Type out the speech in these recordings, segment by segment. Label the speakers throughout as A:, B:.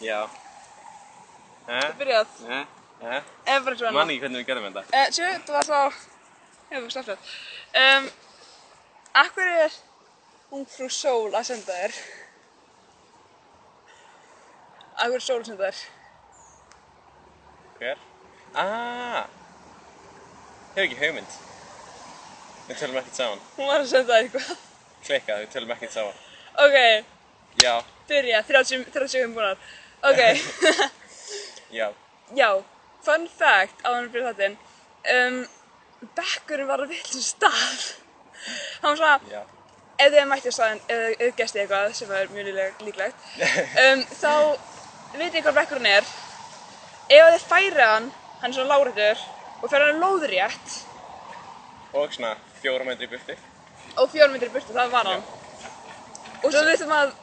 A: Já. Eh,
B: Byrjað.
A: eh, eh.
B: Everett
A: Man ekki hvernig við gerðum þetta.
B: Eh, Sjöðu, þetta var þá... Hefur við sleppt það. Um, akkur er ungfrú sól að senda þér? Akkur er sól að senda þér?
A: Hver? Ah! Hefur ekki hugmynd. Við tölum ekkert saman.
B: Hún var að senda þér eitthvað.
A: Klikkað, við tölum ekkert saman.
B: Ok,
A: Já,
B: byrja, 30, 30 sekundum búinar. Ok,
A: já.
B: já, fun fact á hann fyrir þáttinn. Um, bekkurinn var að vilja stað. Hann var svona,
A: Já.
B: ef þið mætti á staðinn, ef þið- ef þið gesti eitthvað sem er mjög líkleg- líklegt um, þá vitið þið hvað bekkurinn er ef þið færið hann hann er svona lágrættur og færið hann lóðrétt
A: Og svona fjóra metri í burti.
B: og fjórum myndir í burtu, það var hann og svo þurftum að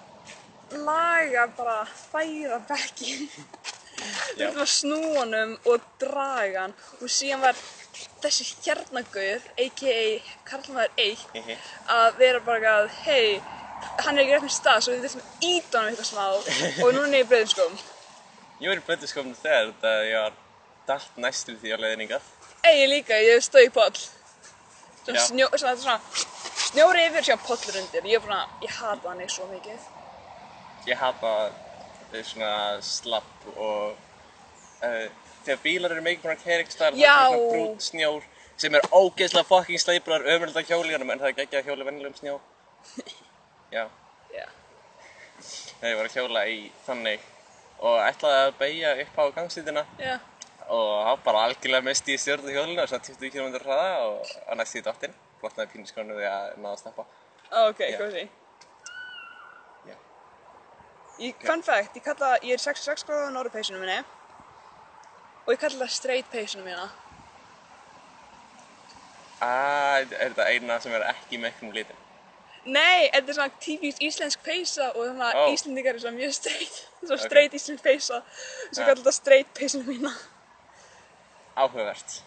B: laga bara færa bekkin
A: Já.
B: þurftum að snúa honum og draga hann og síðan var þessi hérna hjarnagauð aka Karlmaður 1
A: Mhm.
B: að vera bara eitthvað að hei, hann er ekki rétt með stað svo við þurfum að íta honum eitthvað smá og núna er ég í bröðum skóm
A: Ég var í blöndiskomnu þegar þetta ég var dalt næstur því á leiðningað.
B: Ei, ég líka, ég stóð í poll svona,
A: Já.
B: snjó, svona, svona snjóri yfir sem pollur undir ég, er bara, ég hata hann svo mikið
A: Ég hata eh, svona slapp og uh, þegar bílar eru mikið búin að keira ykkur starf
B: Já.
A: það er svona brún snjór sem er ógeðslega fucking sleipur og er ömurlegt á hjólingunum en það er geggjað að hjóla í venjulegum snjó. Já,
B: Já.
A: þegar ég var að hjóla í þannig og ætlaði að beigja upp á gangstíðina
B: Já.
A: og þá bara algjörlega misti ég stjórn á hjólinu og svona 20 km hraða og á næstu í dottinn. Blotnaði pínuskonu því að náða að stoppa.
B: Ó, Ah, ok,
A: Já.
B: hvað því?
A: Já.
B: Ég, fun fact, ég kalla, ég er 66 gráða á norðupeysunum minni og ég kalla það straight peysunum mína.
A: Ah, er þetta eina sem er ekki með einhvern litin?
B: Nei, þetta er svona típísk íslensk peysa og þannig að
A: Ó.
B: Íslendingar er svona mjög straight, svona
A: Ok.
B: straight íslensk peysa og
A: Ja.
B: svo ég kalla það straight peysunum mína.
A: Áhugavert.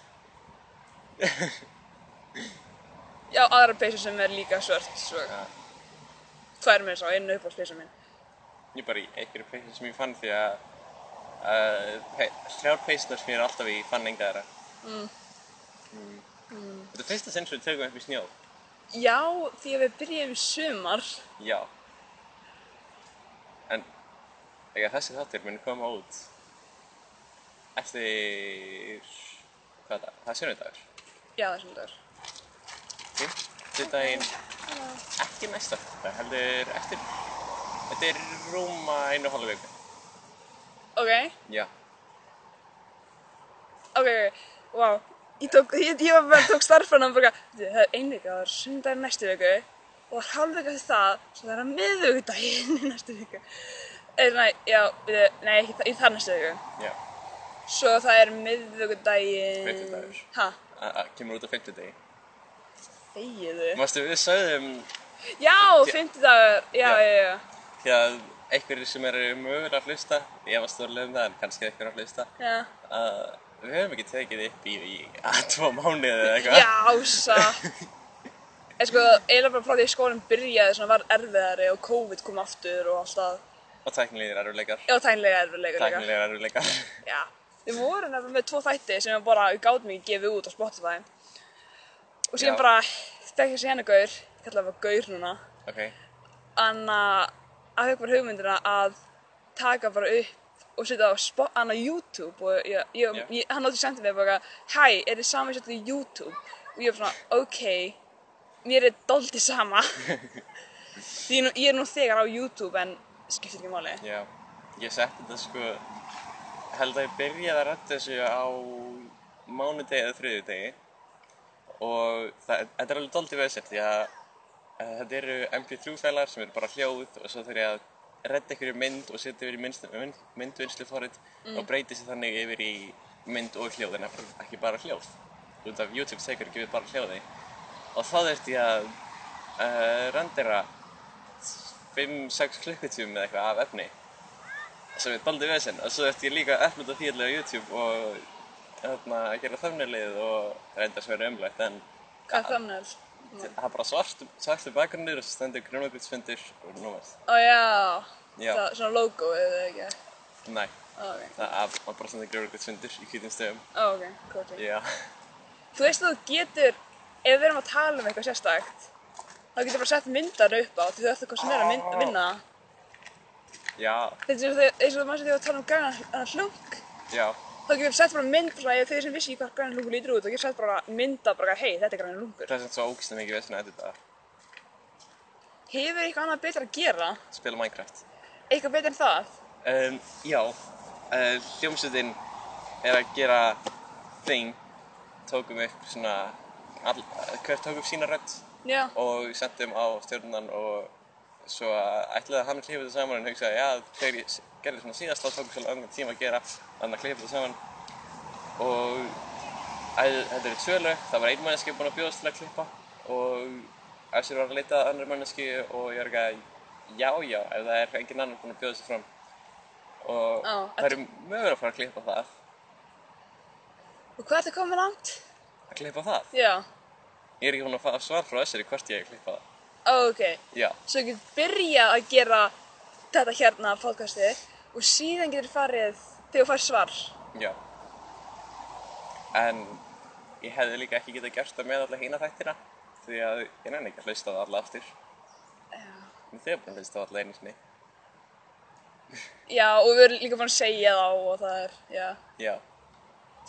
B: Já, aðra peysu sem er líka svört, svo
A: Já.
B: tvær með þess að einu upp á peysa mín.
A: Ég bara í einhverju peysum sem ég fann því að uh, pe þrjár peysunar sem ég er alltaf í fann enga þeirra. Mm. Mm. Þetta er fyrsta sinn sem við tökum upp í snjó.
B: Já, því að við byrjum í sumar.
A: Já. En þegar þessi þáttir muni koma út eftir, hvað er það? Það er sunnudagur.
B: Já, það er svona dagur.
A: Fimmtudaginn, ekki næsta þáttar, heldur eftir, þetta er rúma einu og hálfa viku.
B: Ok.
A: Já.
B: ok, ok, wow ég, tók, ég, ég var bara tók starfrann og bara "Bíddu, það er ein vika, það er sundar næstu viku og það er hálf vika fyrir það svo það er að miðvikudaginn í næstu viku eða nei, já, við, nei, ekki það, í þar næstu viku
A: Já.
B: svo það er miðvikudaginn
A: Fimmtudagur.
B: ha,
A: A- a- Kemur út á fimmtudegi.
B: þegiðu
A: Mástu við sögðum
B: já, fimmtudagur, já,
A: Já.
B: já, já, já
A: því að einhverjir sem eru mögulega að hlusta, ég var stórlega um það en kannski einhverjir að hlusta,
B: Já,
A: að við höfum ekki tekið upp í, í að tvo mánuði eða eitthvað.
B: já satt En sko, eiginlega bara frá því að skólinn byrjaði svona var erfiðari og COVID kom aftur og alltaf
A: Og tæknilegir erfuleikar.
B: Já, tænlega erfiðleika líka
A: Tæknilegir erfuleikar.
B: Já, við vorum nefnilega með tvo þætti sem við bara, við gátum ekki gefið út á Spotify og síðan
A: Já.
B: bara þekkja sér henni gaur, ég kallaði bara gaur núna
A: ok,
B: anna, að hafa bara hugmyndina að taka bara upp og setja á Spo- hann á YouTube og ég, ég,
A: Já.
B: ég, hann átti sendið mér bara hæ, er þið saman setjað í YouTube? og ég var svona, ok mér er doldið sama því ég, er nú- ég er nú þegar á YouTube en skiptir ekki máli
A: já. Ég setti þetta sko, held að ég byrjaði að rætta þessu á mánudegi eða þriðjudegi. Og það, þetta er alveg doldið vesett því að eh, þetta eru MP3-fælar sem eru bara hljóð og svo þurf ég að redda ykkur mynd og setja yfir í myndst- mynd, myndvinnsluforrið og breyti sér þannig yfir í mynd og hljóð en ekki ekki bara hljóð. Út af YouTube tekur ekki við bara hljóði. Og þá þurfti ég að uh, rendera 5-6 klukkutíum eða eitthvað af efni sem er doldið vesinn og svo þurfti ég líka að upplita því allega á YouTube og þarna, að gera þöfnilið og reynda sem er umlægt en
B: hvað er thumbnail?
A: Það er bara svartu, svartu bakgrunnir og svo stendur grunargrunnsfundir og númer.
B: Ó já,
A: Já.
B: Það, svona logo eða ekki.
A: Nei,
B: Ó, ok.
A: það er maður bara sem það gerur eitthvað sundur í hvítum stöðum.
B: Ó, ok, cool.
A: Já,
B: Þú veist að þú getur, ef við erum að tala um eitthvað sérstakt, þá getur bara sett myndar upp á því þú ætti hvað sem er að mynd, vinna.
A: já,
B: Þetta er eins og- eins og maður sem þegar við tala um græna hlung,
A: já,
B: þá getur sett bara mynd, svona, ef þeir sem vissi ekki hvað græna hlungur lítur út, þá getur sett bara mynda bara, hei, þetta er græna hlungur.
A: það er sem svo ógislega mikið vesen að þetta
B: Hefur eitthvað annað betra að gera?
A: spila Minecraft.
B: Eitthvað betra en það?
A: Um, já, uh, hljómsveitin er að gera þing, tókum upp svona, all, hver tók upp sína rödd
B: Já,
A: og sendum á stjórnan og svo ætlaði að hann að klippa þetta saman en hugsaði, já, þegar ég gerði svona síðast þá tók svolítið annan tíma að gera þannig að klippa þetta saman og æ, þetta eru tvö lög, það var ein manneski búin að bjóðast til að klippa og Össur var að leita að annar manneski og ég var ekki að já, já, ef það er engin annar búin að bjóðast fram og
B: Á,
A: það eru mögur að fara að klippa það
B: og hvað ertu komið langt?
A: að klippa það
B: Já,
A: ég er ekki búin að fá svar frá Össur í hvort ég er að klippa það
B: Ó, ok.
A: já,
B: Svo getur byrjað að gera þetta hérna podcastið og síðan getur farið þegar þú fær svar.
A: Já. En ég hefði líka ekki getað gert það með alla hína þættina því að ég nenni ekki að hlusta á það alla aftur. En þið er búin að hlusta á alla einu sinni.
B: Já, og við erum líka búin að segja þá og það er, já.
A: Já.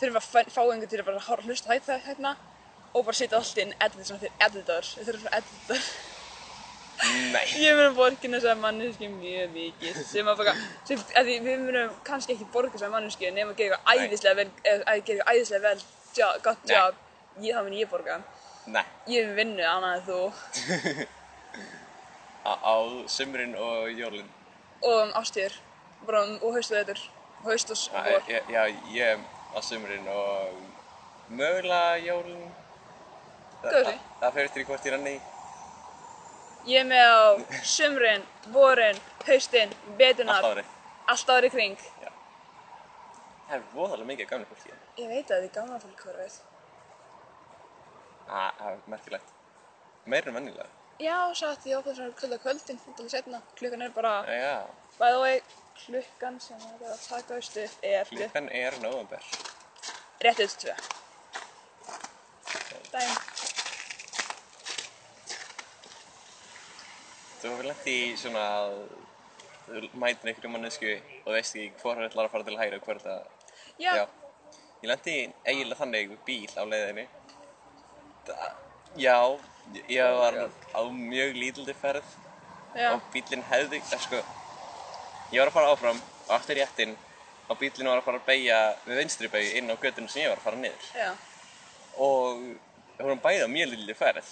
B: Þurfum að fæ- fá einhvern til að bara horfa hlusta hægt það hérna og bara setja allt inn, edit svona þeir editor. Við þurfum svona editor.
A: Nei.
B: Ég mun að borga þessa manneski mjög mikið sem að bara, sem, að því við munum kannski ekki borga þessa manneski nema að gera eitthvað
A: Nei.
B: æðislega vel, eða að gera eitthvað æðislega vel, job, gott
A: Nei.
B: job. Ég, það mun ég borga.
A: Nei.
B: Ég vil vinnu annað en þú.
A: Á, á sumrin og jólin.
B: og um ástíður bara um, og haust og vetur og haust og s-
A: Æ,
B: vor
A: ég- Já, ég á sumrin og mögulega jólin. Þa-
B: Góðri.
A: það- Það fyrir til hvort ég renni í.
B: ég er með á sumrin, vorin, haustin, vetunar
A: Allt árið.
B: allt árið kring
A: Já. Það er voðalega mikið af gamlega fólki. hérna.
B: ég veit að þið er gaman fólk hverfið
A: Á, Það er merkilegt. Meir en vennilega.
B: já, satt ég opið svona kvölda kvöldin þetta er setna, klukkan er bara
A: Já.
B: by the way, klukkan sem það er að taka haust upp er klukkan
A: Klukkan er nóvember.
B: rétt eftir tvö dæm
A: Þú hefur lent í svona að þú mætir einhverju mannesku og veist ekki hvort það ætlar að fara til hægri og hvort það...
B: já,
A: Ég lent í eiginlega þannig við bíl á leiðinni. Þa, já, ég var á mjög lítildi ferð
B: já,
A: og bílinn hefði... eh, Sko, ég var að fara áfram og aftur réttinn og bílinn var að fara að beigja við vinstri beigju inn á göttunum sem ég var að fara niður.
B: já.
A: og við vorum bæði á mjög lilli ferð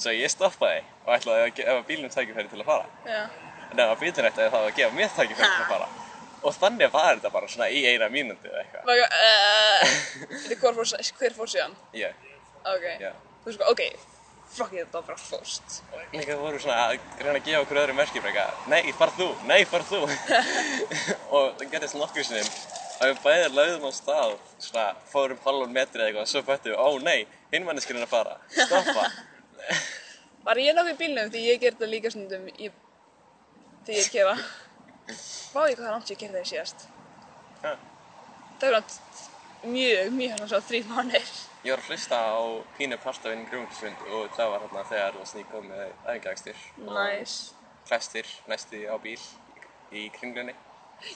A: svo ég stoppaði og ætlaði að gefa bílnum tækifæri til að fara
B: já.
A: en ef að bílinn ætti þá að gefa mér tækifæri til að fara og þannig var þetta bara svona í eina mínúti eða eitthvað
B: Bara, uh, þetta hver fór, hver fór síðan
A: já,
B: ok,
A: já
B: þú veist sko, ok fuck it, það var bara fórst
A: líka voru svona að reyna að gefa okkur öðrum merkifræka nei, far þú, nei, far þú og það gerðist nokkuð sinnum að við bæði lögðum á stað svona fórum halvun metri eða eitthvað svo fættum við, ó nei, hinn manneskinn er að fara stoppa
B: Var ég nokkuð í bílnum því ég gerði það líka stundum í... því ég kera. Vá ég hvað langt ég gerði það síðast.
A: Ha.
B: Það var langt mjög, mjög hérna hann svo þrý mánir.
A: Ég var að hlusta á pínu partafinn grunglsund og það var hérna þegar Lasný kom með æfingaðakstur
B: Næs.
A: og klestir næstu á bíl í kringlunni.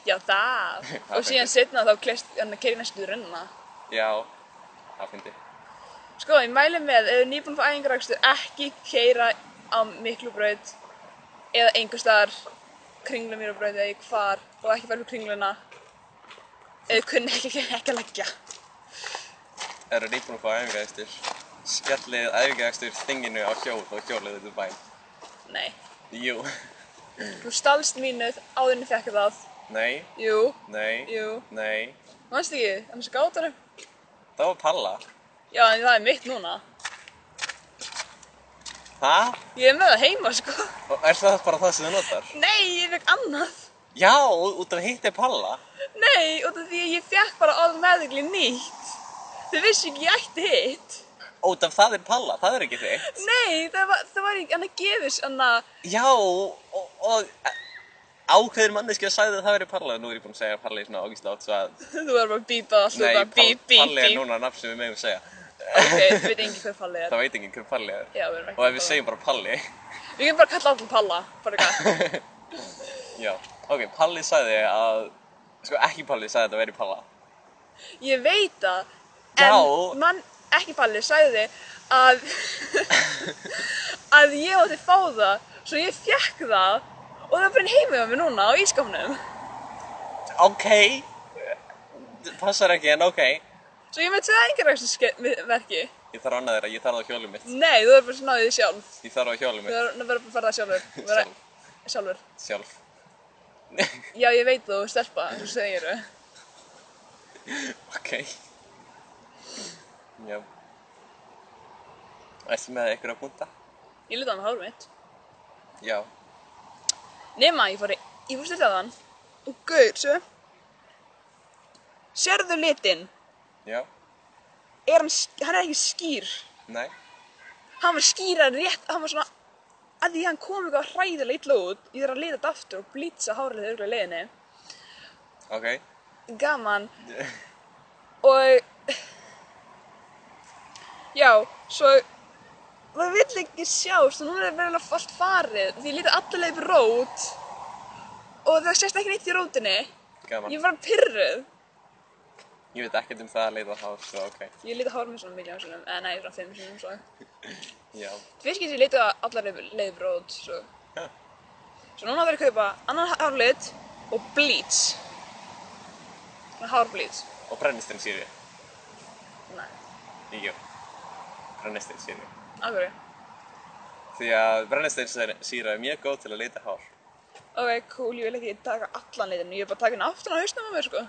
B: Já það.
A: Það
B: Og síðan setna þá klest, hann að keri næstu rennuna.
A: Já, það fyndi.
B: Sko, ég mæli með, ef þið nýbúin að fá æfingarækstur, ekki keira á miklubraut eða einhver staðar kringlumýrabraut eða í hvar og ekki fara fyrir kringluna eða kunni ekki, ekki, ekki að leggja.
A: Það eru nýbúin að fá æfingaðakstur. Skellið æfingaðakstur þinginu á hjól og hjólið út úr bæn.
B: Nei.
A: Jú,
B: Þú stalst mínuð áður en ég fekk það.
A: nei,
B: Jú,
A: nei,
B: jú.
A: nei.
B: Manstu ekki, annars gátanum.
A: Það var palla.
B: Já, en það er mitt núna.
A: Hæ?
B: Ég er með það heima, sko.
A: Og er það bara það sem þú notar?
B: Nei, ég fekk annað.
A: Já, út af hitt er palla.
B: Nei, út af því að ég fekk bara automatically nýtt. Þau vissi ekki ég ætti hitt.
A: Út af það er palla, það er ekki þitt.
B: Nei, það var, það var ekki, hann að gefis, hann að,
A: Já, og, og ákveðin manneskja sagði að það veri Palli og nú er ég búinn að segja Palli svona ógísla átt svo að
B: Þú var bara að býpa alltaf
A: Nei,
B: bara bíp,
A: Pall-
B: bíp,
A: Palli er
B: bíp.
A: núna nafn sem við megum segja
B: Ok, við veitum engin hver Palli er.
A: Það veit enginn hver Palli er
B: Já, við erum ekki
A: Og ef við
B: Palli.
A: segjum bara Palli
B: Við getum bara að kalla allir Palla, bara eitthvað.
A: Já, ok, Palli sagði að Sko ekki Palli sagði að þetta veri Palla
B: Ég veit það,
A: Já.
B: en mann, ekki Palli, sagði að, að ég átti að fá það, svo ég fekk það og það er bara heimið á mér núna á ískapnum.
A: Ok Passar ekki en ok Ég
B: Svo ég myndi það engar rækstusverki.
A: þarf annað þeirra, ég þarf það á hjólum mitt
B: Nei, þú verður bara að ná því sjálf.
A: Ég þarf það á hjólum
B: Þú
A: mitt
B: verður bara að fara það sjálfur. Þú verður-
A: Sjálf,
B: Sjálfur.
A: sjálf
B: Já, ég veit þú, stelpa, þú segir þau.
A: Ok Já Ertu með einhverja punta?
B: Ég litaði með hárið mitt.
A: Já
B: Nema, ég fór, í- ég fór styrtað hann og gaur, svo. Sérðu litinn?
A: Já,
B: Er hann, sk- hann er ekki skýr.
A: nei
B: Hann var skýrar rétt, hann var svona, að því hann kom eitthvað hræðilega illa út, ég þarf að lita þetta aftur og blýtsa hárið þegar auðvitað leiðinni.
A: Ok
B: Gaman. Og, já, svo, maður vill ekki sjást og núna er verið alveg allt farið, því ég lítið allavega upp rót og það sést ekki neitt í rótinni.
A: Gaman.
B: Ég var pyrruð.
A: Ég veit ekkert um það að leita hár, svo ok.
B: Ég lítið hárið mér svona miljón sinum, eða nei, svona fimm sinum svo.
A: Já.
B: Fyrskins ég lítið allar leiðbrót, svo.
A: Ha.
B: Svo núna þarf ég að kaupa annan hárlit og bleach. Svona hárblíts.
A: Og brennistinn sýri.
B: Nei,
A: Jú. Brennistinn sýri.
B: af hverju?
A: Því að brennistinn sýra er mjög góð til að leita hár.
B: Ok, cool, ég vil ekki taka allan litinn, ég er bara að taka henni aftan á hausnum á mér, sko.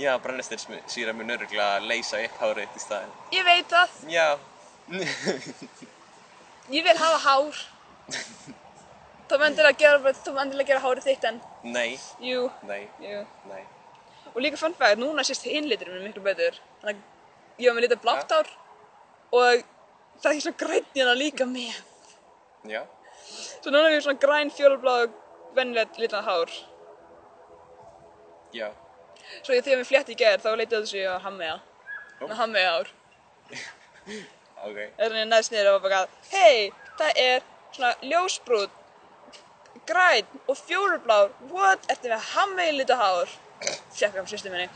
A: Já, brennistinn sýra mun öruglega að leysa upp hárið í staðinn.
B: Ég veit það,
A: Já.
B: ég vil hafa hár. Þú mendur að gera, þú mendur að gera hárið þitt en,
A: nei,
B: jú,
A: nei,
B: jú.
A: nei.
B: Og líka fun fact, núna sést hinliturinn minn miklu betur. Þannig að ég var með lítið blátt hár og það er svona grænn hérna líka með.
A: Já.
B: Svo núna er ég svona græn, fjólblá og vennilegt lítið hár.
A: Já.
B: Svo ég, þegar mér flétti í gerð þá leitið þessu ég að hammeja. Með hammeja hár.
A: Ok.
B: Þannig að neðst niður og var bara að, hei, það er svona ljósbrún, græn og fjólblár, what, ertu með hammeja lítið hár? Sjekka um sýstu minni.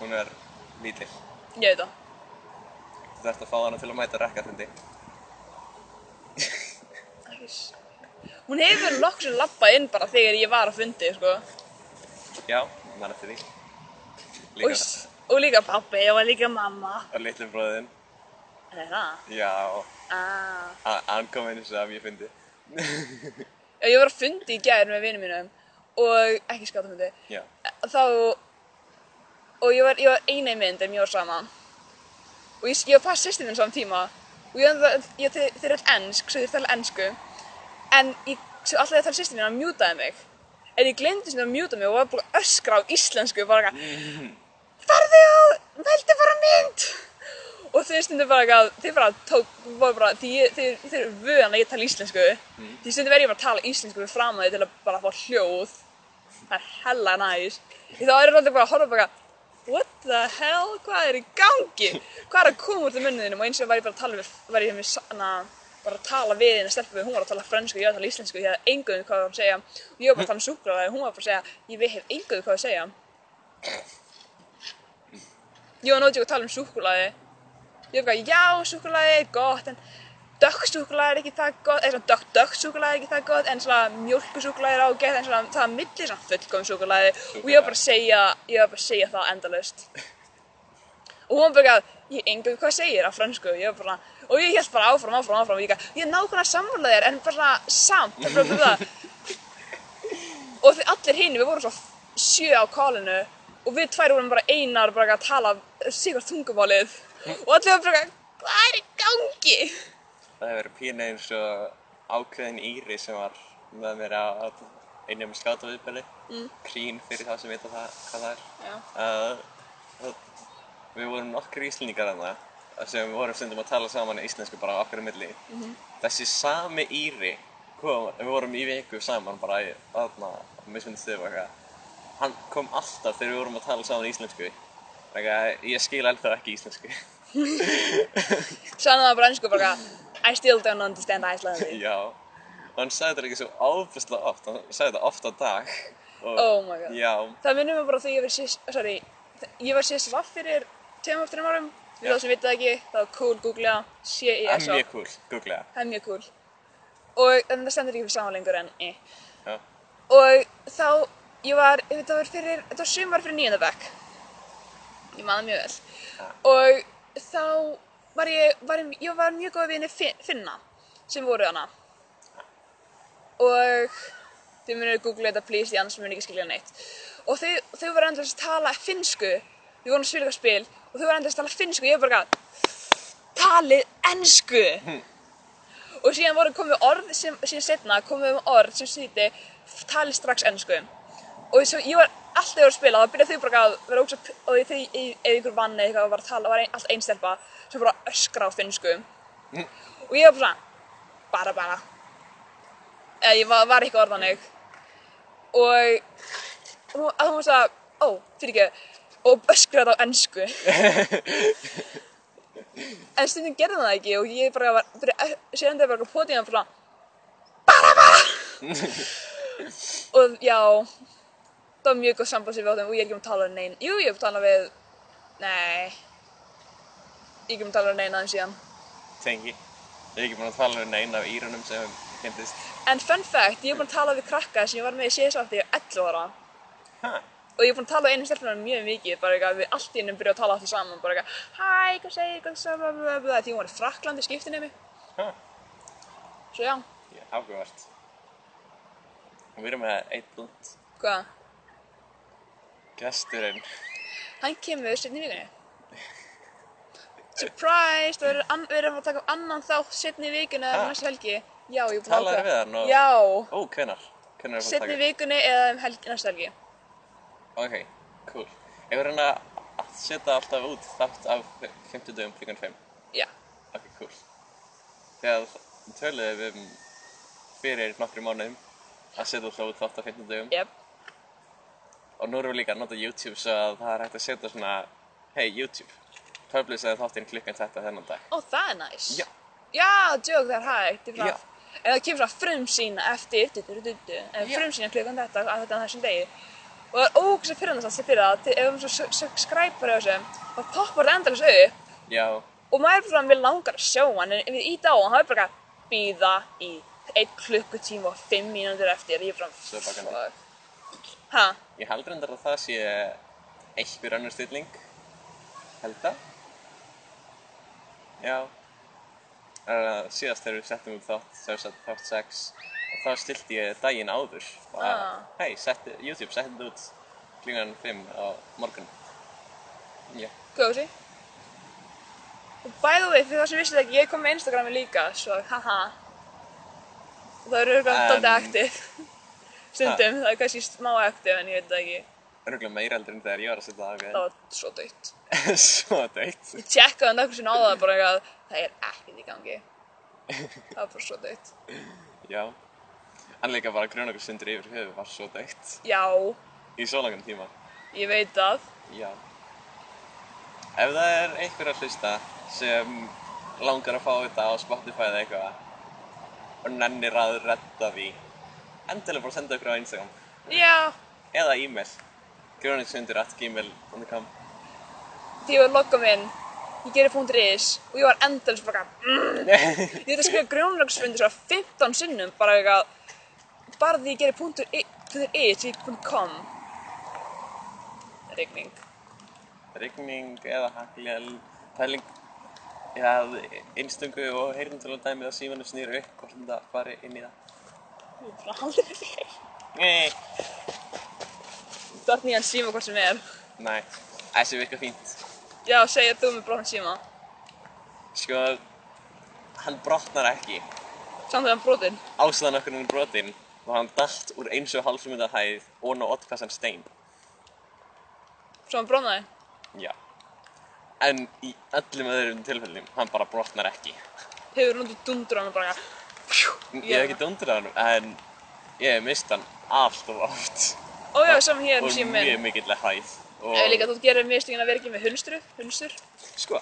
A: Hún er lítil.
B: Ég veit það.
A: Þú þarfst að fá hana til að mæta rekkafundi.
B: Ekki s- Hún hefur nokkur lappað inn bara þegar ég var að fundi, sko.
A: Já, mann eftir því.
B: Og,
A: Líka
B: s- og líka pappi og líka mamma.
A: það. Og litlu bróðin.
B: Það er það.
A: Já.
B: Ah.
A: a- Hann kom einu sem ég fyndi.
B: Já, ég var að fundi í gær með vinum mínum og ekki skátafundi.
A: Já.
B: Þá, og ég var, ég var eina í mynd en ég var saman. Og ég, ég var past sýstir minn saman tíma og ég, ég, ég þeir, þeir eru all ennsk, svo þeir tala ennsku. En ég, svo alltaf þegar tala sýstir minn að mjútaði mig. En ég glemdi svona að mjúta mig og var bara að öskra á íslensku, bara eitthvað Farðu og veldu bara mynd! Og þau stundum bara eitthvað, þau bara tók, voru bara, því ég, þau, þau eru vöðan að ég tala íslensku. Því stundum verð ég bara að tala íslensku við fram að þau til að bara fá hljóð. Það er hella næs. Því þá eru alltaf bara að horfa bara, what the hell, hvað er í gangi? Hvað er að koma úr það munniðinum? Og eins og var ég bara að tala við, var ég með sanna, bara að tala við henni stelpu við, hún var að tala frönsku, ég var að tala íslensku, ég hafði enguðum hvað það var að segja. Og ég var bara að tala um súklaði, hún var bara að segja, ég hef enguðum hvað að segja. Ég var náttúrulega að tala um súkkulaði. Ég var bara, já, súkkulaði er gott, en dökk súkkulaði er ekki það gott, eða svona dökk dökk súkkulaði er ekki það gott, en svona mjölkusúkkulaði er ágætt, en svona það er milli svona fullkom súkkulaði og ég var bara að segja, ég var bara að segja það endalaust. Og hún bara, ég engu hvað segir á fransku, ég var bara, og ég held bara áfram, áfram, áfram, og ég gaf, ég er nákvæmlega sammála þér, en bara samt, það er bara það. og þið allir hinn, við vorum svo sjö á kálinu og við tvær vorum bara einar bara að tala sigur tungumálið og allir vorum bara hvað er í gangi?
A: Það hefur verið pínu eins og ákveðin Íri sem var með mér á á einum skátaviðbæli, mm. krín fyrir það sem veit það, hvað það er.
B: Já.
A: Uh, við vorum nokkri íslendingar þarna sem við vorum stundum að tala saman í íslensku bara á okkar á milli
B: Mhm.
A: þessi sami Íri kom, við vorum í viku saman bara í þarna á mismunandi stöðu og eitthvað hann kom alltaf þegar við vorum að tala saman í íslensku Þegar ég skil ennþá ekki íslensku
B: Sann það bara ennsku bara I still don't understand Iceland
A: Já, hann sagði þetta ekki svo áfæslega oft, hann sagði þetta oft á dag og,
B: Oh my god.
A: Já,
B: Það minnum við bara því ég var sýst, sorry, ég var sýst vaff fyrir tveim eftir um árum. Fyrir
A: Já.
B: þá sem vitað ekki, það var cool, googla, E
A: það er
B: C-E-S-O.
A: mjög cool, googlega
B: Það er mjög cool. Og en það stendur ekki fyrir saman lengur en eh.
A: Já,
B: Og þá, ég var, ég veit það var fyrir, þetta var sumar fyrir nýjöndabæk. Ég maður mjög vel. Og þá var ég, var, ég var mjög góð vinni Finna sem voru hana. Og þau munir googla þetta please því annars munir ekki skilja neitt. Og þau, þau voru endast að tala finnsku. Við vorum að spila eitthvað spil og þau voru endast að tala finnsku. Ég var bara gæt, talið ennsku. Og síðan voru komið orð sem, síðan setna komið um orð sem sýti talið strax ennsku. Og svo ég var alltaf að spila, þá byrjaði þau bara að vera ógst að, og þau, ef ykkur vann eða eitthvað og var að tala, var ein, alltaf einstelpa, sem bara öskra á finnsku. Og ég var bara svona, bara bara. Eða ég var, var eitthvað orðanig. Og nú- að hún var svona, ó, fyrir og öskraði á ennsku. en stundum gerði það ekki og ég bara var, byrja, síðan þegar bara potið hann bara, bara bara. og já, það var mjög góð samband sem við áttum og ég er ekki um að tala við neina. Jú, ég er um að tala við... Nei. Ég er ekki um að tala við neina aðeins síðan.
A: tengi Ég er ekki búin að tala um neina af írunum sem kynntist
B: En fun fact, ég er búin að tala við krakka sem ég var með í CSA þegar ég var 11 ára.
A: Ha,
B: Og ég er búin að tala við einu stelpunum mjög mikið, bara eitthvað við allt í innum byrjuð að tala allir saman, bara eitthvað Hæ, hvað segir, hvað segir, bla bla bla bla, því hún var í Fraklandi skiptinemi.
A: ha,
B: Svo já,
A: ég áhugavert Við erum með eitt búnt
B: hvað?
A: gesturinn
B: Hann kemur setni í vikunni. Surprise, það verður ann- við erum að taka upp annan þátt setni í vikunni eða
A: Ha?
B: næstu helgi. Já, ég er búin að
A: Talaðu við hann og-
B: Já.
A: Ó, hvenar? Hvenar er
B: setni vikunni eða um helgi, næstu helgi.
A: Ok, cool Ég verður hann að setja alltaf út þátt af 50 dögum klukkan 5
B: Já,
A: Ok, cool Þegar þ- töluðum við um fyrir nokkrum mánuðum að setja alltaf út þátt af 15 dögum
B: jep.
A: og nú erum við líka að nota YouTube svo að það er hægt að setja svona hey YouTube, publisaði þáttinn klukkan þetta þennan dag
B: Ó, það er næs.
A: Já.
B: Já, djók, það er hægt, ég
A: Já.
B: frá. En það kemur svona frumsýna eftir, du, du, du, du, du, en
A: Já.
B: frumsýna klukkan þetta, að þetta er þessum degi. Og það er ógæslega fyrir þess að setja fyrir það, til- ef maður svo subscriber á þessu, þá poppar það endalins upp
A: Já,
B: og maður er svona, við langar að sjá hann, en ef við ít á hann, þá er bara að býða í einn klukkutíma og fimm mínútur eftir, ég er
A: Svo
B: bara,
A: er bakandi.
B: Hæ?
A: ég held reyndar að það sé einhver önnur stilling held það Já uh, síðast þegar við settum út þátt sem sagt þátt 6 og þá stilti ég daginn áður og að,
B: Ah.
A: hei, setti, YouTube setti þetta út klukkan 5 á morgun Já,
B: Cozy. Og by the way, fyrir það sem vissið ekki, ég kom með Instagrami líka, svo haha. Og það eru
A: En-
B: örugglega dálítið aktiv. Stundum, það er kannski smá aktiv en ég veit það ekki.
A: örgulega meira heldur en þegar ég var að setja það
B: Það
A: á
B: var svo dött.
A: ok Svo deitt
B: Ég tjekkaði nokkur sinna á það bara eitthvað, það er ekkert í gangi. Það var bara svo dött.
A: Já, en líka bara grun okkur sundur yfir höfu var svo deitt
B: Já,
A: í svo langan tíma.
B: ég veit það.
A: Já. Ef það er einhver að hlusta sem langar að fá þetta á Spotify eða eitthvað og nennir að redda því, endilega bara senda okkur á Instagram
B: Já,
A: eða e-mail grunoksundur at gmail.com
B: því ég var að logga minn, ég gerir punktur is og ég var endalins bara eitthvað,
A: Nei,
B: Ég þurfti að skrifa grjónlagsfundur svo 15 sinnum bara eitthvað bara því ég gerir punktur .i punktur .is í punktur .com Rigning
A: rigning eða hagljál, pæling, já, einstungu og heyrnum dæmið á símanum snýru upp hvort þetta fari inn í það.
B: Ég er bara haldið með þér
A: Nei.
B: Þú ert nýjan síma hvort sem er
A: Nei, þessi virkar fínt.
B: Já, segja þú með brotna síma
A: Sko, hann brotnar ekki.
B: Samt þegar hann brotin
A: Ástæðan okkur hann er brotinn var hann dalt úr eins og hálfsmynda hæð og ná ottkassan stein.
B: Svo hann brotnaði
A: Já. en í öllum öðrum tilfellum, hann bara brotnar ekki.
B: Hefur notið dundur á hann bara pjú,
A: Ég hef ekki dundur á hann, en ég hef mist hann allt og oft.
B: Ójá, sem hér
A: og
B: sem
A: mjög
B: minn.
A: mikill hæð. Og
B: Ef líka þú gerir mistökin að vera ekki með hunstru, hunstur.
A: Sko,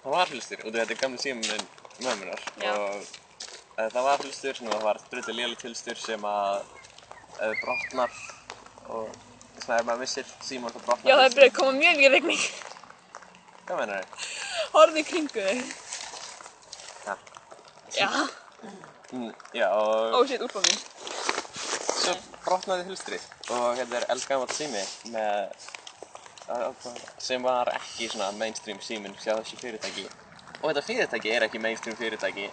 A: það var hlustur, og þetta er gamli símum minn mömmunar.
B: Já.
A: Og uh, það var hlustur, sem það var drullið lélit hlustur sem að uh, brotnar og svona ef maður missir símum þá brotnar
B: Já, það er
A: hlusturinn.
B: byrjað að koma mjög mikið regning.
A: Hvað meinar þau?
B: Horfðu í kringu þig.
A: Ja.
B: Já,
A: Mm, já, og
B: ó shit, úlpa mín.
A: svo brotnaði hulstrið og þetta er eldgamall sími með sem var ekki svona mainstream síminn hjá þessu fyrirtæki og þetta fyrirtæki er ekki mainstream fyrirtæki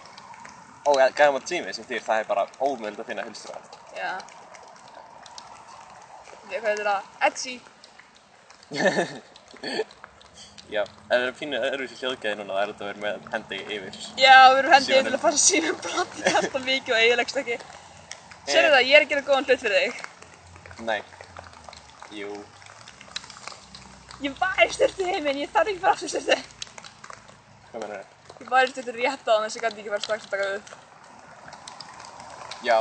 A: og gamall sími sem þýr það er bara ómöld að finna hulstra
B: Já. Ég, hvað heitir það? Etsy.
A: Já, ef það eru pínu öðruvísi hljóðgæði núna það er þetta að vera með hendi yfir
B: Já, við erum hendið
A: Símanum.
B: hérna til að um fara sínum brotið alltaf mikið og eiginlegst ekki. Sérðu það, ég er að gera góðan hlut fyrir þig.
A: Nei Jú
B: Ég var í styrtu heiminn, ég þarf ekki að fara aftur í styrtu.
A: Hvað meina það?
B: Ég var í styrtu rétt á þannig að ég gæti ekki fara strax að taka upp.
A: Já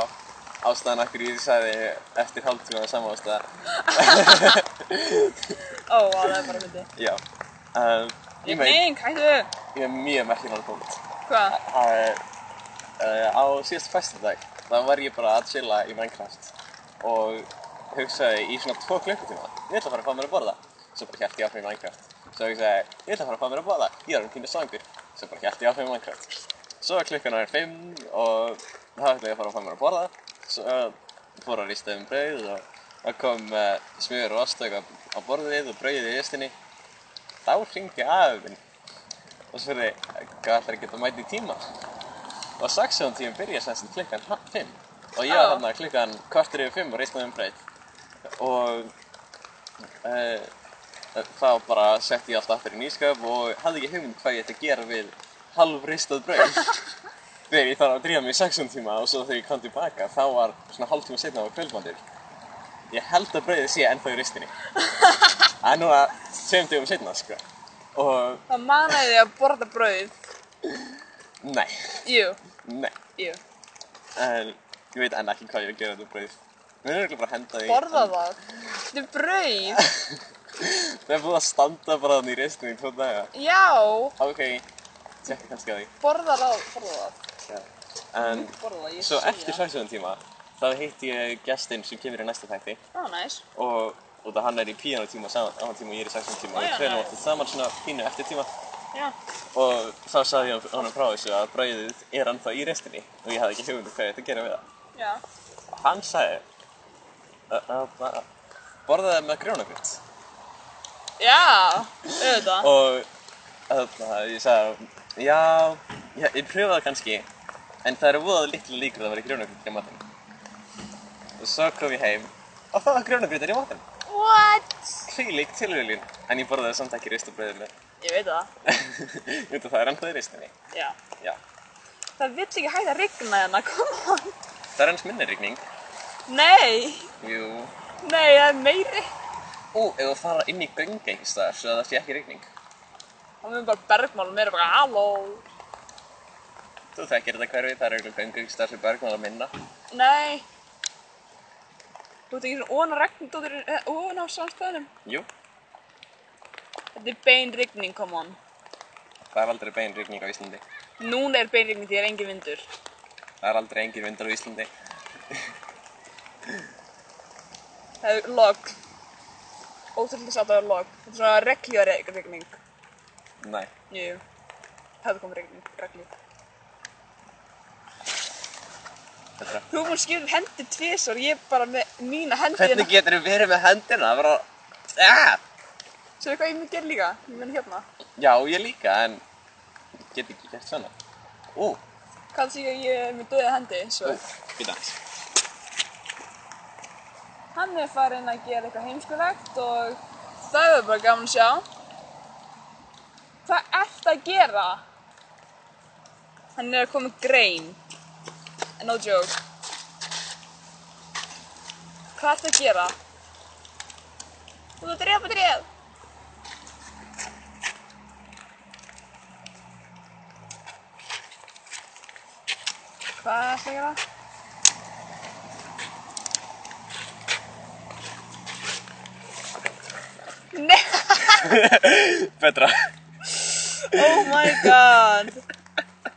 A: Ástæðan akkur ég sagði eftir hálftíma saman ástæða
B: Ó, vá, það er bara myndið.
A: Já um, Ég meit,
B: Nei, hættu.
A: ég er mjög merkilega komið
B: Hvað?
A: Það er, uh, á síðast festadag þá var ég bara að chilla í Minecraft og hugsaði í svona tvo klukkutíma ég ætla að fara að fá mér að borða svo bara held ég áfram í Minecraft svo hugsaði ég ætla að fara að fá mér að borða ég er um pínu svangur svo bara held ég áfram í Minecraft svo var klukkan orðin 5 og þá ætla ég að fara að fá mér að borða svo uh, fór að rista um brauð og það kom uh, smjör og ostök á, á borðið og brauðið í restinni þá hringdi aðeins minn og spurði hvað ætlar að geta mæti í tíma og saxjón tíma byrja sem sem klukkan ha- fimm og ég var
B: Já.
A: þarna klukkan kvartur yfir fimm og reist um breyt og uh, þá bara setti ég allt aftur í nýsköp og hafði ekki hugmynd hvað ég ætti að gera við halvristað brauð þegar ég þarf að drífa mig í saxjón tíma og svo þegar ég kom tilbaka þá var svona hálftíma setna á kvöldmandir ég held að brauðið sé ennþá í ristinni það er núna 7 dögum setna sko og
B: Það manaði þig að borða brauð.
A: nei
B: Jú,
A: Nei,
B: jú.
A: en ég veit enn ekki hvað ég er að gera þetta brauð. Við erum örugglega bara að henda því.
B: Borða það. Þetta er brauð.
A: Við erum búin að standa bara þannig í reistinni í tvo daga.
B: Já,
A: Ok, tjekka kannski að því.
B: borða það, borða það.
A: Já. En
B: Borða það, ég
A: svo
B: sé
A: eftir
B: það.
A: sæsöðum tíma, þá hitti ég gestinn sem kemur í næsta þætti
B: Það var næs.
A: og og það hann er í píanotíma saman, á hann tíma og ég er í sæsöðum tíma og
B: Já,
A: við
B: já,
A: treinum
B: já.
A: alltaf saman svona pínu eftir tíma
B: Já.
A: og þá sagði ég honum frá þessu að brauðið er ennþá í reistinni og ég hafði ekki hugmynd um hvað ég ætti að gera við það.
B: Já.
A: Og hann sagði að- að- að- borðaði með grjónagrýtt
B: Já, auðvitað.
A: og þarna ég sagði já, já, ég pröfaði það kannski en það eru voða litla líkur að það væri grjónagrýtt í matinn og svo kom ég heim og það var grjónagrýtt í matinn
B: What?
A: hvílík tilviljun en ég borðaði samt ekki ristabröðinu
B: Ég veit það.
A: út af það er ennþá í ristinni
B: Já.
A: já,
B: Það vill ekki hægt að rigna hérna, come on.
A: það er hans minni rigning
B: Nei,
A: jú,
B: nei, það er meiri.
A: ú, ef þú fara inn í gönga einhvers staðar svo að það sé ekki rigning
B: Það mun bara bergmálum, meira bara halló.
A: þú þekkir þetta hverfi, það er auðvitað gönga einhvers staðar sem bergmála minna
B: Nei. Þú ert ekki svona óna regn, þú ert óna á samstæðunum.
A: jú,
B: Þetta er bein rigning, come on.
A: Það er aldrei bein rigning á Íslandi.
B: Núna er bein rigning því það er engin vindur.
A: Það er aldrei engin vindur á Íslandi.
B: Það er log. Ótrúlega satt að það er log. Þetta er svona regljóri regning.
A: Nei.
B: Jú. Það er komið regning, regljó.
A: Þetta.
B: Þú múið skilur hendi tvisar, ég er bara með mína hendi hérna.
A: Hvernig getur þú verið með hendina? Það var að... Ah!
B: Svo hvað ég mun gera líka, ég mun hérna.
A: Já, ég líka, en... Ég get ekki gert svona. Ú,
B: Hvað sé ég að ég er með döða hendi,
A: ú,
B: svo.
A: býta aðeins.
B: Hann er farinn að gera eitthvað heimskulegt og það er bara gaman að sjá. Hvað ert að gera? Hann er að koma með grein. No joke. Hvað ert að gera? Þú ert að drepa dref. Hvað ætla ég að gera? Nei,
A: Betra.
B: oh my god.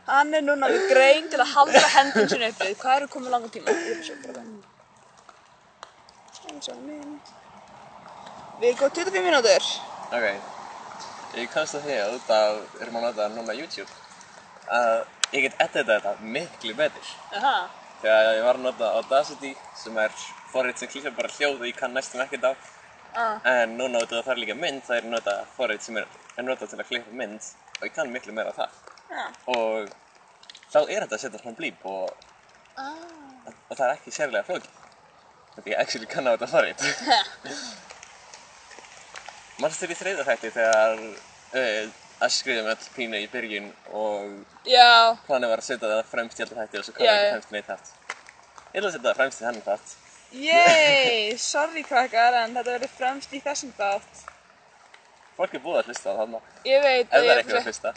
B: Hann er núna með grein til að halda hendun sinni uppið. Hvað eru komið langa tíma? Ég er svo bara um Eins og minn. Við erum góð 25 mínútur.
A: Ok. Ég komst að því að út af, við erum að nota núna YouTube, að ég get editað þetta miklu betur.
B: Aha.
A: Þegar ég var að nota Audacity, sem er forrið sem klýsar bara hljóð og ég kann næstum ekkert á.
B: Ah.
A: En núna út af það er líka mynd, það er að nota forrið sem er, er nota til að klippa mynd og ég kann miklu meira á það.
B: Já.
A: Og þá er þetta að setja svona blíp og,
B: Ah.
A: og það er ekki sérlega flókið. Þetta ég actually kann á þetta forrið. Manstu þér í þreyða þætti þegar uh, öskriðum öll pínu í byrjun og
B: Já.
A: planið var að setja það fremst í alltaf þætti og svo
B: Já,
A: komið ekki
B: já.
A: fremst í neitt þátt. Ég ætla að setja það fremst í hennan þátt.
B: Yey, sorry krakkar, en þetta verður fremst í þessum þátt.
A: Fólk er búið að hlusta á þarna,
B: Ég veit
A: ef það
B: ég
A: er ekki að hlusta.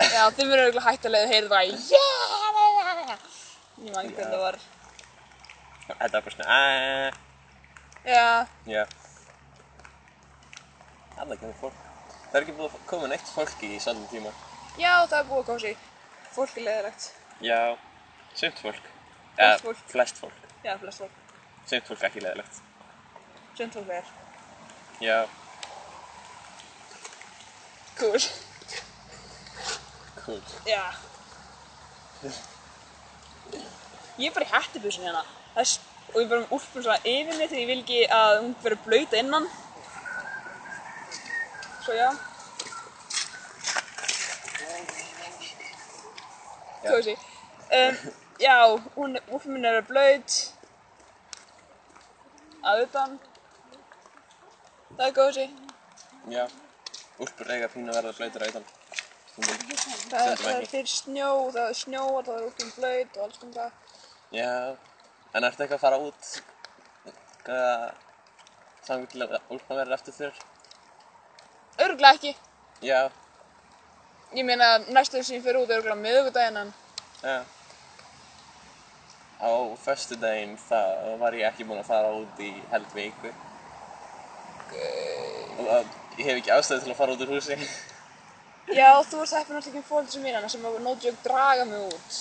B: Já, þið verður eiginlega hægt að leiða heyrið bara yeah! Ég man ekki hvernig það var.
A: Þetta er bara svona aaaah,
B: Já,
A: já. Alla kemur fólk. Það er ekki búið að koma neitt fólk í svolítið tíma.
B: já, það er búið að kósi. Fólk er leiðilegt.
A: Já, sumt fólk.
B: Flest
A: Eða,
B: fólk.
A: Flest fólk.
B: Já, flest fólk.
A: Sumt fólk ekki leðilegt.
B: Sjönd fólk er.
A: Já,
B: Cool.
A: cool.
B: Já. Ég er bara í hættibusinu hérna. Það er s- og ég er bara með úlpun svona yfir mig þegar ég vil ekki að hún verður blöyt innan. Svo já,
A: Já.
B: kósi. Um, já, hún, úlpun minn er blöyt. Að utan. Það er kósi.
A: Já. Úlpur eiga pínu að verða blöytur á utan. Stundum.
B: Það,
A: Stundum
B: það er
A: ekki.
B: fyrir snjó, það er snjó og það er úlpun blöyt og alls konar það.
A: Já, en ertu eitthvað að fara út? Hvað, þangur til að úlpan verður eftir þér?
B: Örglega ekki.
A: Já,
B: Ég meina næstu sem ég fyrir út er örglega miðugudaginn en
A: já. Á föstudaginn þá var ég ekki búinn að fara út í held viku. Og það, ég hef ekki ástæði til að fara út úr húsi.
B: Já, þú ert heppin að tekja fólk sem mínana sem hafa nótjög draga mig út.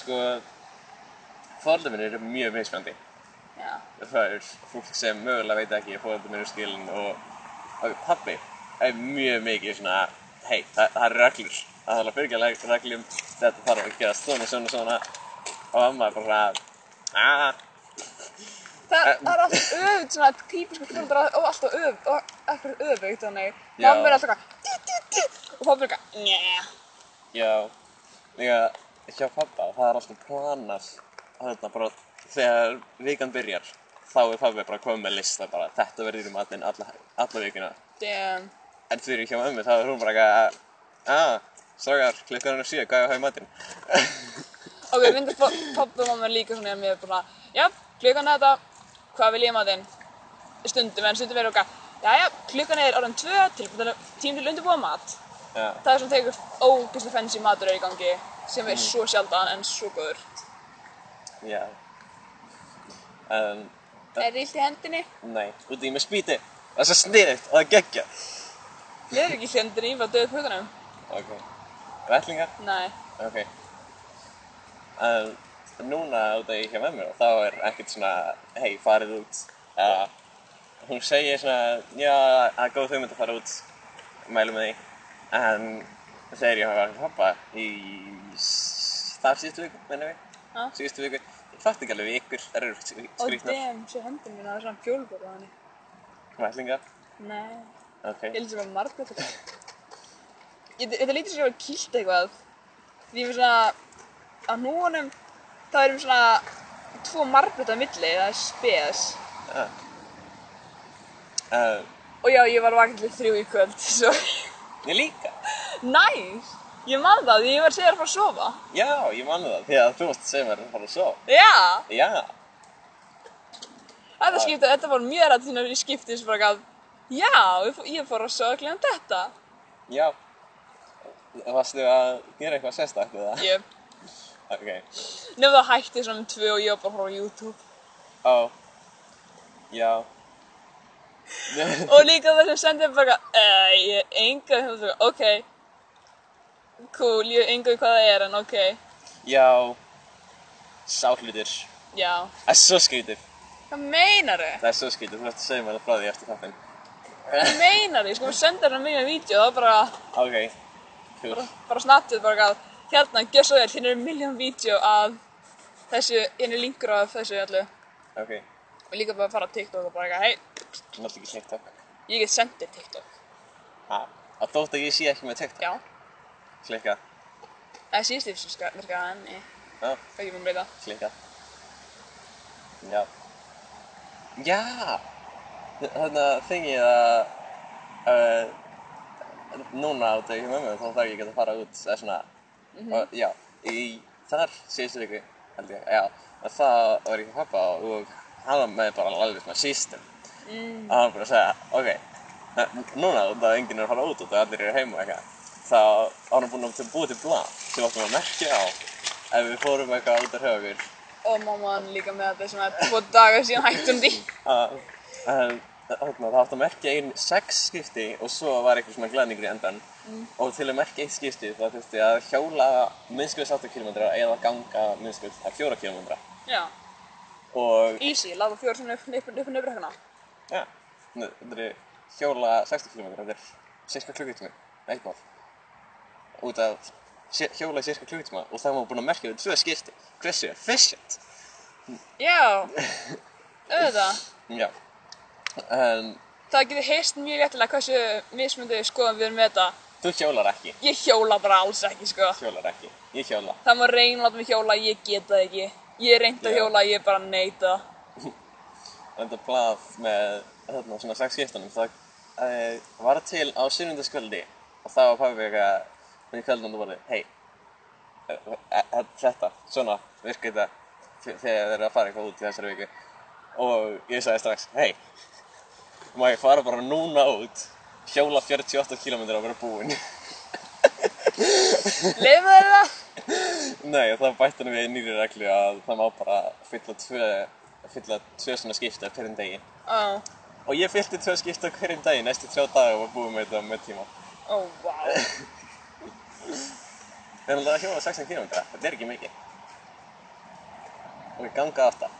A: Sko, fórhaldar minn eru mjög mismjöndi.
B: Já.
A: Það er fólk sem mögulega veit ekki að fórhaldar minn eru skilin og, og pabbi er mjög mikið svona, hei, það, það eru reglur. Það þarf að byrja reglum, þetta þarf að gera svona, svona, svona. Og amma er bara svona, "Ah, aah,
B: Það, það er alltaf öfugt, svona típisku fólkdrar og alltaf öfugt, og ekkert öfugt þannig.
A: Já.
B: Mamma er alltaf eitthvað, dí, dí, dí, og pappa er eitthvað, njæ.
A: Já, líka hjá pappa, það er alltaf planað þarna bara þegar vikan byrjar þá er pabbi bara komið með lista bara þetta verður í matinn alla, alla vikuna
B: Damn.
A: en þegar ég hjá ömmu þá er hún bara að að, strákar, klukkan er síðan, hvað er að hafa í matinn?
B: Ok, myndir pappa og mamma er líka svona, mér er bara, já, klukkan er þetta, hvað vil ég maður þinn? Stundum, en stundum er eitthvað, já, já, klukkan er orðin tvö, tilbúin tím til að undirbúa mat.
A: Já,
B: Það er svona tegur ógeðslega fancy matur er í gangi, sem er svo sjaldan en svo góður.
A: já En,
B: Er illt í hendinni?
A: nei, út í með spýti það er svo sniðið og það geggja
B: Ég er ekki í hendinni, ég var döð hugunum.
A: Ok, vellingar?
B: Nei.
A: Ok. Um, núna út af ég hjá mömmu og þá er ekkert svona, hei, farið út. Uh, hún segir svona, já, það er góð hugmynd að fara út, mælum með því. En þegar ég hafa pappa í s- þar síðustu viku, mennum við,
B: Ha?
A: síðustu viku, ég fatt ekki alveg vikur, það eru
B: Ó,
A: skrýtnar,
B: damn, sé hendin mín, það er svona fjólbór á henni.
A: mælingar.
B: Nei.
A: Ok,
B: Ég heldur sem að margbreyta þetta. Ég- Þetta lítur sem að vera kýlt eitthvað. Því ég er svona, á núanum, það erum svona tvo margbreyta á milli, það er spes.
A: já. Uh,
B: Og já, ég var vakið til þrjú í kvöld, svo.
A: ég líka.
B: Næs! Ég man það, því ég var að segja þér að fara að sofa.
A: Já, ég manna það, því að þú varst að segja mér að fara að sofa.
B: Já!
A: Já,
B: Þetta skipti, þetta var mjög rætt þínar í skipti sem bara gaf, já, ég fó- ég fór að sofa glemt þetta.
A: Já. Varstu að gera eitthvað sérstakt eða?
B: Ég,
A: ok,
B: Nefn það hætti svona um tvö og ég var bara að horfa á YouTube.
A: ó, já, Nei,
B: Og líka það sem sendið bara, eh, ég er enga, það var ok, cool, ég er enga hvað það er, en ok,
A: já, sáhlutir,
B: já.
A: það er svo skrítið,
B: Hvað meinar þau?
A: það er svo skrítið, þú ætti að segja mér það frá því eftir þáttinn.
B: Hvað meinar þau? Ég sko senda hérna mjög vídeo, það var bara,
A: Ok, cool,
B: bara snattið bara að hérna, gjör svo vel, hérna er miljón vídeo af þessu, hérna er linkur af þessu öllu
A: ok,
B: og líka bara að fara á TikTok og bara eitthvað, hei,
A: náttúrulega ekki TikTok.
B: ég get sendið TikTok,
A: Ha, að þótt að ég sé ekki með TikTok,
B: já,
A: klikka,
B: það er síðust yfir sem verka að enni,
A: já,
B: hvað ekki mér breyta,
A: klikka, já, já, þannig að þingið að, uh, núna á degi hjá mömmu, þá þarf ég ekki að fara út, eða svona, og, já, í þar síðustu viku, held ég, já, og þá var ég hjá pappa og hann var með bara alveg svona sístum,
B: mm,
A: og hann bara að segja, ok, n- núna út af enginn er að fara út út og allir eru heima og eitthvað, þá var hann búinn að búið til blað sem við áttum að merkja á ef við fórum eitthvað út af hjá okkur.
B: og mamma hann líka með þetta sem að tvo daga síðan hætti hún því,
A: að að- þarna, Það átti að merkja einn sex skipti og svo var eitthvað svona glæningur í endan og til að merkja eitt skipti þá þurfti að hjála minnskuðs 8 km eða ganga minnskuðs 4 km
B: já,
A: og
B: easy, láta fjóra svona upp, upp, upp, upp, upp hérna,
A: ja, þetta er hjála 60 km, þetta er cirka klukkutíma, eitthvað út af sé- hjóla í cirka klukkutíma og það var búin að merkja við tvö skipti hversu efficient
B: já, auðvitað.
A: já en
B: Það getur heyrst mjög réttilega hversu mismundu skoðum við erum með þetta.
A: þú hjólar ekki,
B: Ég hjóla bara alls ekki, sko.
A: hjólar ekki, ég hjóla
B: Það má reyna að láta mig hjóla, ég get það ekki. Ég er reynd að
A: Já.
B: hjóla, ég er bara neita.
A: þetta blað með þarna, svona sex skiptunum það uh, var til á sunnundaskvöldi og þá var pabbi eitthvað með kvöldunum og bara, hei eh, þetta, svona, virka þetta þe- þegar þeir eru að fara eitthvað út í þessari viku og ég sagði strax, hei má ég fara bara núna út hjóla 48 km og vera búinn
B: Leifum þeir það?
A: Nei, þá bætti hann við nýri reglu að það má bara fylla tvö, fylla tvö svona skipta á hverjum degi
B: Ó,
A: Og ég fyllti tvö skipti á hverjum dagi, næstu þrjá daga og var búið með þetta með tíma.
B: ó, vá.
A: Við erum alltaf að hjóla 16 km, þetta er ekki mikið. Og ég ganga aftar.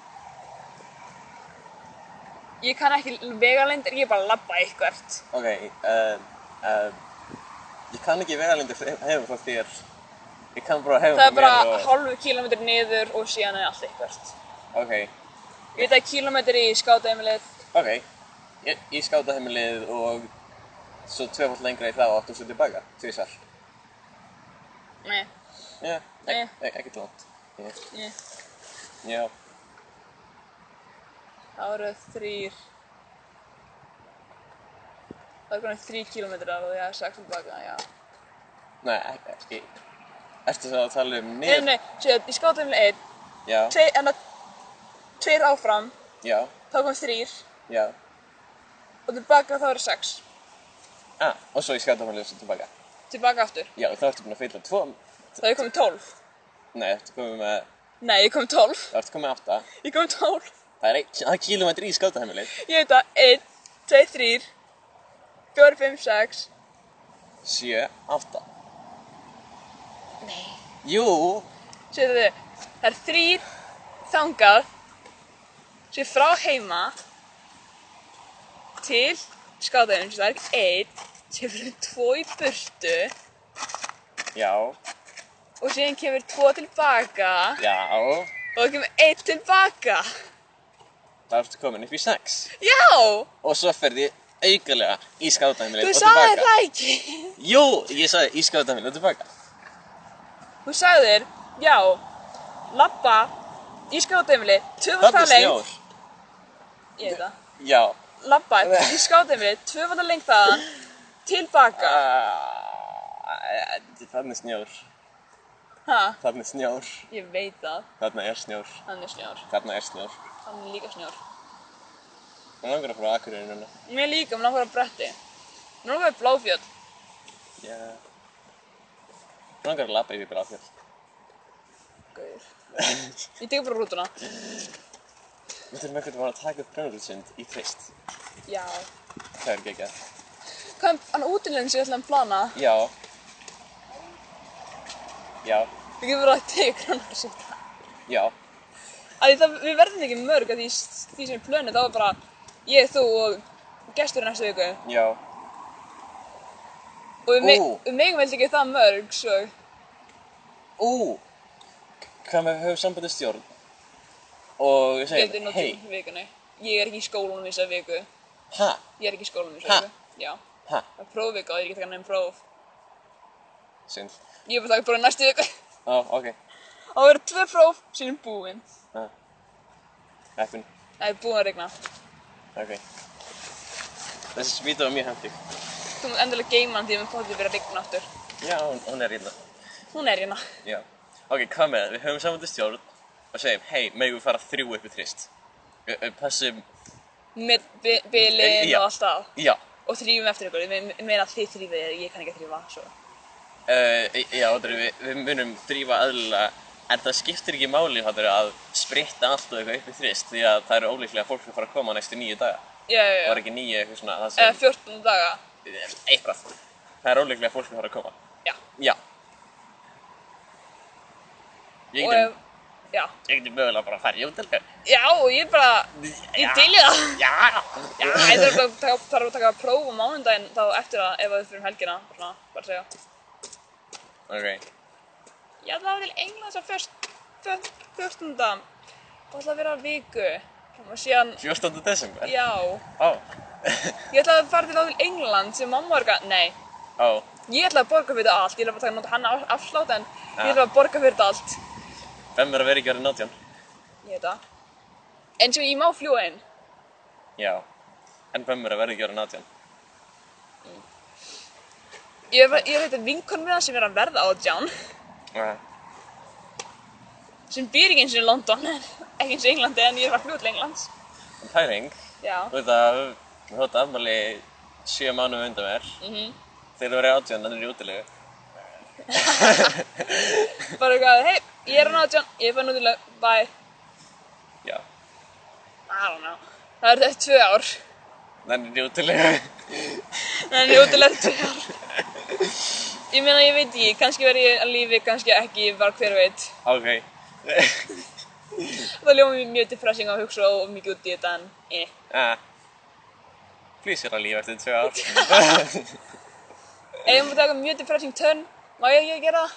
B: Ég kann ekki vegalendir, ég er bara að labba eitthvert.
A: Ok, uh, uh, ég kann ekki vegalindir hefum frá þér. Ég kann bara hefum
B: Það er
A: frá
B: bara
A: mér og...
B: hálfu kílómetri niður og síðan er allt eitthvert.
A: Ok,
B: Ég veit að kílómetri í skátaheimilið,
A: ok. Ég, ég skáta heimilið og svo tvefald lengra í það og áttum svo tilbaka, tvisar.
B: nei,
A: Já,
B: Nei.
A: ek, ek, ekkert langt. Já,
B: nei,
A: já,
B: það eru þrýr. Það eru konar þrý kílómetrar og ég hef sagt um baka, já.
A: nei, ek- ekki. Ertu það að tala um
B: Nei,
A: niður?
B: nei, séu, ég skáði um einn,
A: Já,
B: tveir, en að tveir áfram,
A: já,
B: þá kom þrýr
A: já.
B: og tilbaka þá eru sex.
A: Ah, og svo ég skjáta hann ljósa tilbaka.
B: Tilbaka aftur.
A: Já, þá ertu búin að fylla tvo...
B: Þá ég kom tólf.
A: Nei, ertu komið með...
B: Nei, ég kom tólf.
A: Þá ertu komið með átta.
B: Ég kom tólf.
A: Það er ein, það er kílómetri í skjátaheimilið.
B: Ég veit að einn, tveir, þrýr, fjóri, fimm, sex.
A: Sjö, átta.
B: Nei.
A: Jú,
B: Séu þið, það er þrýr þangað sem frá heima til skáðaðum sem það er einn sem fyrir tvo í burtu
A: já,
B: og síðan kemur tvo tilbaka
A: já.
B: og það kemur einn tilbaka.
A: Þá ertu komin upp í sex.
B: Já!
A: Og svo ferði ég aukalega í skjátaheimilið
B: Þú
A: og
B: sagðir
A: tilbaka.
B: það ekki.
A: Jú, ég sagði í skjátaheimilið og tilbaka.
B: Þú sagðir, já, labba í skátaumili,
A: Þarna
B: tvöfaldar
A: er
B: lengt,
A: snjór.
B: ég veit það,
A: Já.
B: labba í skátaumili, tvöfaldar lengt þaðan, tilbaka.
A: Ah, Þarna er snjór.
B: Ha,
A: Þarna er snjór.
B: ég veit það,
A: Þarna er snjór.
B: hann er snjór,
A: Þarna er snjór.
B: hann er líka snjór.
A: Mér langar að fara á Akureyri núna.
B: Mér líka, mér langar að bretti. Mér langar að bláfjöld.
A: Já. Mér langar að labba yfir Bláfjöld.
B: Guð. Ég tekur bara rútuna.
A: Við þurfum einhvern veginn að taka upp brennurútsund í trist.
B: Já.
A: Það er geggjað.
B: Hvað um, hann útileginn sem ég ætlaði að plana?
A: Já. Já.
B: Við getum bara að tegur hann að sýta.
A: Já.
B: Því það, við verðum ekki mörg að því, því sem er plönu, þá er bara ég, þú og gestur í næstu viku.
A: Já.
B: Og við, me
A: Ú.
B: við megum veldig ekki það mörg, svo.
A: Ú! Hvað með höfum sambandi stjórn? Og ég
B: Getur
A: segir, hei,
B: notið vikunni. Ég er ekki í skólanum í þessa viku.
A: ha,
B: Ég er ekki í skólanum í
A: Ha?
B: þessa viku. Já.
A: ha,
B: Það er prófvika og ég er ekki að taka nefn próf.
A: synd.
B: Ég er bara að taka próf í næstu viku.
A: Ó, ok.
B: Það verður tvö próf sem er búin.
A: Ha. Heppin,
B: Það er búin að regna.
A: ok. Þessi smítið var mjög hendig.
B: Þú múið endilega geima hann því að við fóttum verið að regna aftur.
A: Já, hún, hún er illa.
B: Hún er hérna.
A: Já. Ok, hvað með, við höfum sambandi stjórn og segjum, hei, megum við fara þrjú upp í trist. Ö, ö, Pössum,
B: Með bi- bilin
A: Já.
B: og allt það.
A: já.
B: Og þrýfum eftir ykkur. Ég me- meina að þið þrýfið er, ég kann ekki að þrýfa. Svo.
A: Uh, já, þetta er við, við munum drífa aðlilega en það skiptir ekki máli þetta er að spritta allt og eitthvað upp í þrist því að það eru ólíklega fólk sem fara að koma næstu nýju daga
B: Já, já,
A: það
B: já.
A: var ekki nýju eitthvað svona það sem,
B: Eða 14 daga.
A: eitthvað það eru ólíklega fólk sem fara að koma
B: Já.
A: já ég
B: Og
A: geti,
B: ef, já.
A: ég geti mögulega bara að fara í jótelgar
B: Já, og ég er bara, ég til í það.
A: já,
B: Já, ég þarf að taka, þarf að taka próf á mánundaginn þá eftir að ef að við fyrir um helgina. Svona, bara segja.
A: ok,
B: Já, það var til Englands á fyrst, fyrst, fyrstunda. Það ætla að vera viku. Og síðan,
A: 14. desember
B: já.
A: ó,
B: Ég ætlaði að fara til þá til England sem mamma var eitthvað, nei,
A: ó,
B: ég ætlaði að borga fyrir þetta allt, ég ætlaði bara að taka nota hann afslátt en ég
A: Ja.
B: ætlaði að borga fyrir þetta allt,
A: hvem er að vera ekki verið nátján
B: ég veit það. En sem ég má fljúa inn,
A: já, en hvem er að vera ekki verið nátján
B: ég hef ég hef eitthvað vinkon með það sem er að verða átján,
A: já,
B: sem býr ekki eins og í London, en ekki eins og í Englandi en ég er að fara að fljúa til Englands.
A: en pæring
B: Já,
A: Þú veit að þú hótt afmæli sjö mánuðum undan mér
B: Mhm.
A: þegar þú verið átján, þannig er ég útilegu.
B: bara eitthvað, hei, ég er hann átján, ég er fann út í lög, bye,
A: Já,
B: I don't know. Það eru þetta tvö ár,
A: þannig er ég útilegu.
B: en ég út í lög tvö ár. Ég meina, ég veit ekki, kannski verð ég að lífi, kannski ekki, bara hver veit.
A: ok.
B: Það ljóma mér mjög depressing að hugsa og mikið út í þetta en eh.
A: Ah. Flýs er að lífa eftir tvö ár.
B: Ef ég má taka mjög depressing turn, má ég ekki að gera það?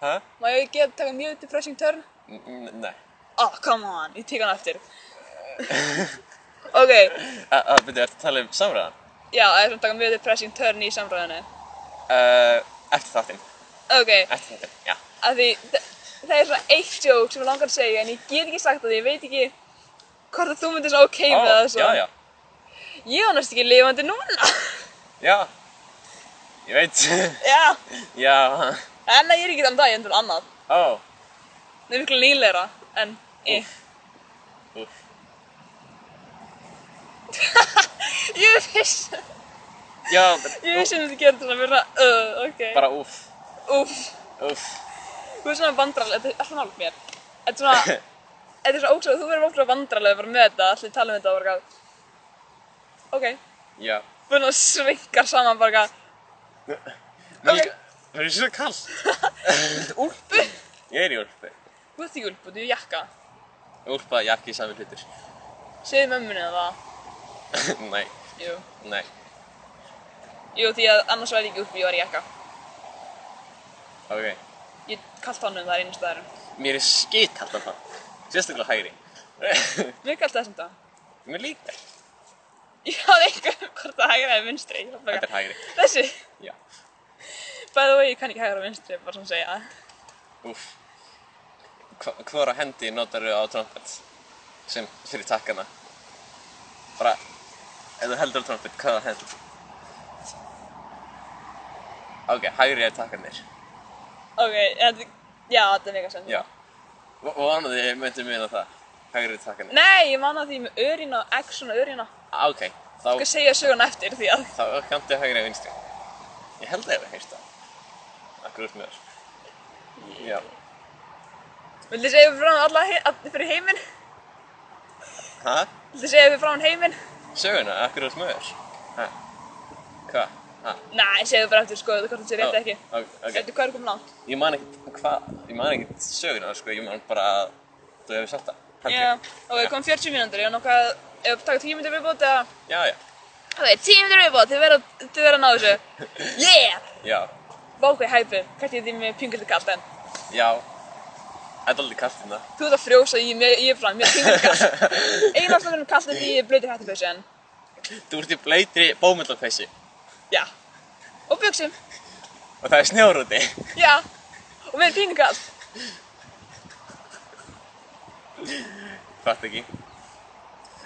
A: Hæ?
B: Má ég ekki að taka mjög depressing turn?
A: N- n- Nei.
B: Oh, come on, ég tek hann eftir. ok,
A: Það byrjuði eftir að tala um samræðan.
B: já, ef ég má taka mjög depressing turn í samræðinu.
A: Uh, eftir þáttinn.
B: Ok,
A: Eftir þáttinn, já.
B: af því þa- það er svona eitt joke sem ég langar að segja en ég get ekki sagt það, ég veit ekki hvort að þú myndir svona ok með það svo.
A: já, já.
B: Ég var næst ekki lifandi núna.
A: Já. Ég veit.
B: já,
A: já.
B: en ég er ekki þann dag, ég er endur annað.
A: Ó.
B: Það er miklu nýleira, en eh.
A: Úff.
B: Ég er fyrst.
A: Já,
B: Ég vissi að þetta gerir þetta svona fyrir svona, uh, ok.
A: bara úff.
B: Úff,
A: Úff.
B: þú er svona vandrarlega, þetta er alltaf nálega mér. Þetta er svona, þetta er svona ókslega, þú verður ókslega vandrarlega bara með þetta, allir tala um þetta og bara eitthvað. Ok,
A: Já.
B: búin að svinga saman bara eitthvað,
A: Mér
B: Ok.
A: líka- mér er svo kallt.
B: úlpu.
A: Ég er í úlpu.
B: Þú ert ekki úlpu, þú er jakka.
A: Úlpa, jakki, sami hlutur.
B: Segðu mömmunni það,
A: nei,
B: jú.
A: nei.
B: Jú, því að annars væri ég ekki úlpu, ég var í jakka.
A: Ok.
B: Ég kallt honum það einu staðarum.
A: Mér er skitt alltaf það. Sérstaklega hægri.
B: Mér kallt það sem það.
A: Mér líka.
B: Ég hafði einhver hvort það hægra eða vinstri. Ég var bara
A: Þetta er
B: eitthvað,
A: hægri.
B: Þessi,
A: Já.
B: bæði og ég kann ekki hægra og vinstri, bara svona segja.
A: Úff. Hva- Hvora hendi notarðu á trompet? Sem fyrir takkana. Bara, ef þú heldur á trompet, hvaða hend? Ok, hægri er takkanir.
B: Ok, þetta, já, þetta er mega sens.
A: Já. Og vanaði myndum við það. Hægri er takkanir.
B: Nei, ég man að því með örina og action og örina.
A: Ok, þá...
B: Ég skal segja söguna eftir því að
A: Þá kanntu hægri að vinstri. Ég held að ég hef heyrt það. Akkur út með þér. Já.
B: Viltu segja fyrir fram alla, he- all- fyrir heiminn?
A: Hæ?
B: Viltu segja fyrir fram heiminn?
A: Söguna, akkur á smöður? Hæ? Hva? Hæ?
B: Nei, segðu bara eftir skoðu hvort það sé rétt eða ekki.
A: Ó, ok,
B: Veitu hvað er komið langt?
A: ég man ekkert hvað, ég man ekkert söguna, sko, ég man bara að þú hefur sagt það. held
B: Já,
A: ég.
B: ok, kom 40 mínútur, ég á nokkað, ef við taka 10 mínútur viðbót eða...
A: Já, já,
B: Ok, 10 mínútur viðbót, þið verða, þið verða að ná þessu. Yeah!
A: já,
B: Vákvæði hæpi, hvernig þið mér pinguldi kallt en.
A: já. Þetta er aldrei kallt hérna.
B: Þú ert að frjósa, ég, ég, ég er fram, mér pinguldi kallt. Einu ástæðan kallt er því ég er blöytir hættupössu en.
A: Þú ert í bleitri bómyndlapessi
B: Já. Og buksum.
A: og það er snjór úti.
B: Já. Og mér er pínu kallt.
A: Fatt ekki.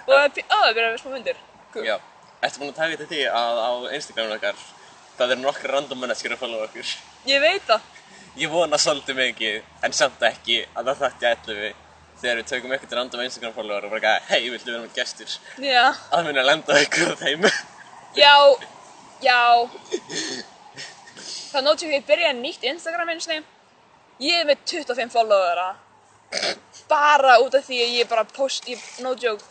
B: Og það er pí- ó, það byrjar að vera smá myndir. Cool.
A: Já. Ertu búin að taka þetta því að á Instagramin okkar, það eru nokkra random menneskjur að followa okkur.
B: Ég veit það.
A: Ég vona svolítið mikið, en samt ekki, að það þætti að ellu við þegar við tökum eitthvað random Instagram follower og bara gæða, hei, viltu vera með gestur?
B: Já.
A: Að minna að lenda á ykkur af þeim.
B: Já. Já. Það nótum við að byrja nýtt Instagram eins og Ég er með 25 followera. Bara út af því að ég bara post, ég, no joke.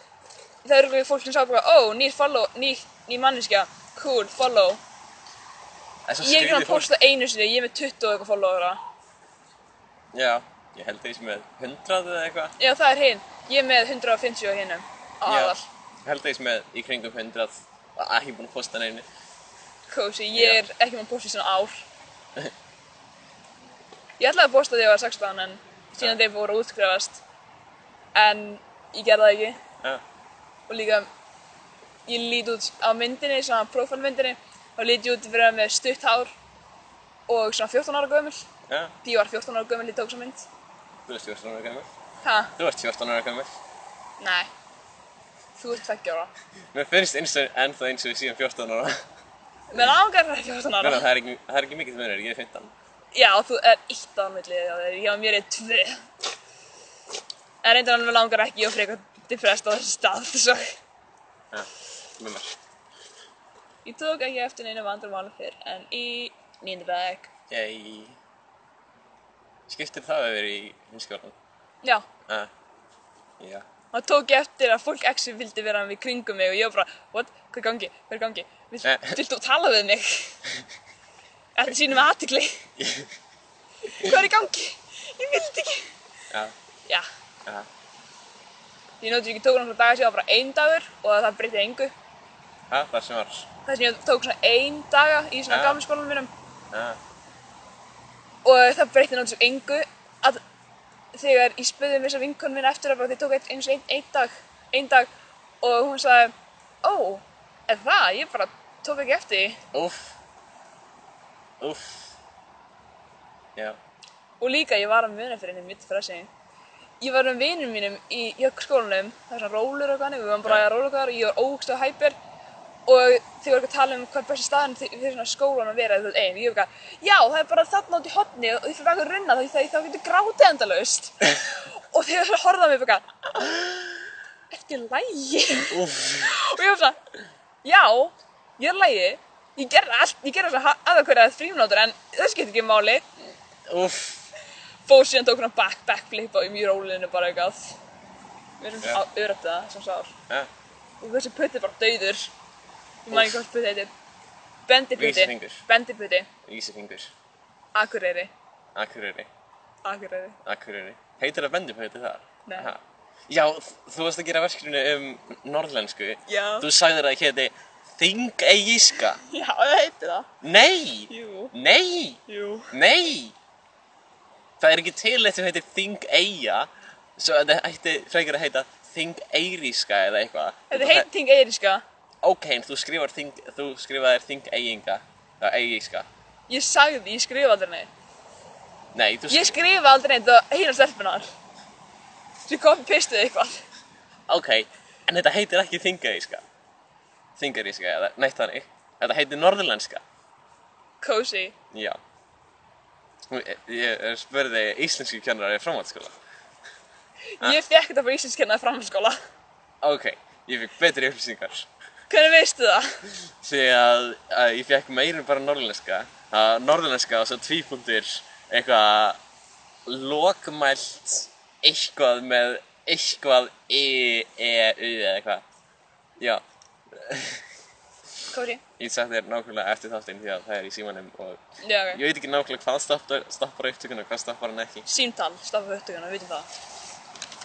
B: Það eru ekki fólk sem sá bara, ó, oh, nýr follow, ný, ný manneskja, cool, follow.
A: En svo
B: Ég er ekki að
A: skrýtið fólk.
B: posta einu sinni, ég er með 20 og eitthvað followera.
A: Já, ég held þeir sem er 100 eða eitthvað.
B: Já, það er hinn. Ég er með 150 á hinnum. Á
A: Já.
B: aðal.
A: Ég held þeir sem er í kringum Ah, 100, að ekki búin að posta neinu.
B: Kósi, ég er ekki með að posta í svona ár. Ég ætlaði að posta þegar ég var 16 en síðan þegar ég voru að útskrifast. En ég gerði það ekki.
A: Já,
B: Og líka, ég lít út á myndinni, svona prófálmyndinni, og lít ég út fyrir að vera með stutt hár og svona 14 ára gömul.
A: já,
B: Því ég var 14 ára gömul, ég tók svo mynd.
A: þú ert 14 ára gömur.
B: Ha?
A: Þú ert 14 ára gömur.
B: Nei. Þú ert 20 ára.
A: Mér finnst eins og ennþá eins og við síðan 14 ára.
B: Mér langar að vera 14
A: Meina,
B: ára.
A: það, er ekki, það er ekki mikið munur, ég er 15.
B: Já, þú er eitt á millið á þér, já, mér er tvö. En reyndar alveg langar ekki og frekar depressed á þessu stað, svo
A: Já, með mér.
B: ég tók ekki eftir neinu vandarmáli fyrr, en í nýjöndu bæk.
A: Ég... Skiptir það yfir í hinskjólan?
B: Já,
A: Uh, já.
B: þá tók ég eftir að fólk actually vildi vera við kringum mig og ég var bara, what, hvað er í gangi, hvað er í gangi, Vilt,
A: Eh.
B: viltu tala við mig? Þetta sýnum við aðtikli. hvað er í gangi? Ég vildi ekki.
A: Já,
B: Já,
A: já,
B: ég nótti ekki tók náttúrulega dagar síðan bara ein dagur og það breytti engu.
A: já, það sem var.
B: þar sem ég tók svona ein daga í svona
A: Ja.
B: gamla skólanum mínum
A: Já,
B: og það breytti náttúrulega engu að þegar ég spurði mér þess að vinkonu mín eftir að bara þið tók eitt, eins og einn ein dag, ein dag og hún sagði ó, er það, ég bara tók ekki eftir því."
A: úff, úff, já,
B: og líka ég var að muna eftir henni mitt fyrir þessi ég var með vinum mínum í, í skólanum það var svona rólur og þannig, við varum bara
A: Ja.
B: að róla okkar og ég var ógst og hæpir og þau voru eitthvað að tala um hvað er besti staðan þi- fyrir svona skólan að vera eitthvað einn og ég var eitthvað, já það er bara þarna út í hotni og þið fyrir baka að runna þá, þá, þá getur grátið endalaust og þau voru svona að horfa á mig bara eftir lægi
A: úff,
B: og ég var svona, já, ég er lægi ég gerði allt, ég gerði þess að aða hverja frímnátur en það skiptir ekki máli
A: úff.
B: fór síðan tók hann back, backflip á um í rólinu bara eitthvað við erum
A: Já.
B: yeah. öðröpt það sem sár
A: Já,
B: og þessi putti er bara dauður ég maður ekki hvað putti heitir bendiputti,
A: Vísifingur.
B: bendiputti
A: Ísafengur,
B: akureyri,
A: Akureyri,
B: akureyri
A: Akureyri. Heitir það bendum, heitir það?
B: Nei.
A: Aha. Já, þ- þú varst að gera verkefni um norðlensku.
B: Já.
A: Þú sagðir að héti Þingeyjíska.
B: já, það heitir það
A: Nei!
B: jú,
A: Nei!
B: jú
A: Nei! Það er ekki til eitt sem heitir Þingeyja Svo þetta ætti frekar að heita Þingeyríska eða eitthvað
B: þetta heit ting sko. eiriska
A: Ok, en þú skrifar þing, þú skrifaðir Þingeyinga Það eigíska
B: ég sagði því, ég skrifa aldrei neitt
A: Nei, þú
B: ég skrifa aldrei neitt og hinn á stelpunar sem kom pistuð eitthvað
A: Ok, en þetta heitir ekki Þingeyríska Þingeyríska eða neitt þannig Þetta heitir Norðurlenska
B: cozy
A: Já Ég- Ég spurði íslenski kennara í framhaldsskóla
B: ég fekk þetta bara íslenskennað framhaldsskóla
A: Ok, ég fikk betri upplýsingar
B: hvernig veistu það?
A: því að, að ég fekk meirinn bara norðlenska að norðlenska og svo tvípundir eitthvað lokmælt eitthvað með eitthvað i, e, u eða eitthvað. Já,
B: Kóri?
A: ég sagt þér nákvæmlega eftir þáttinn því að það er í símanum og
B: Já, ok.
A: ég veit ekki nákvæmlega hvað stappar, stappar upptökuna og hvað stappar hann ekki.
B: Símtal, stafa upptökuna, við vitum það.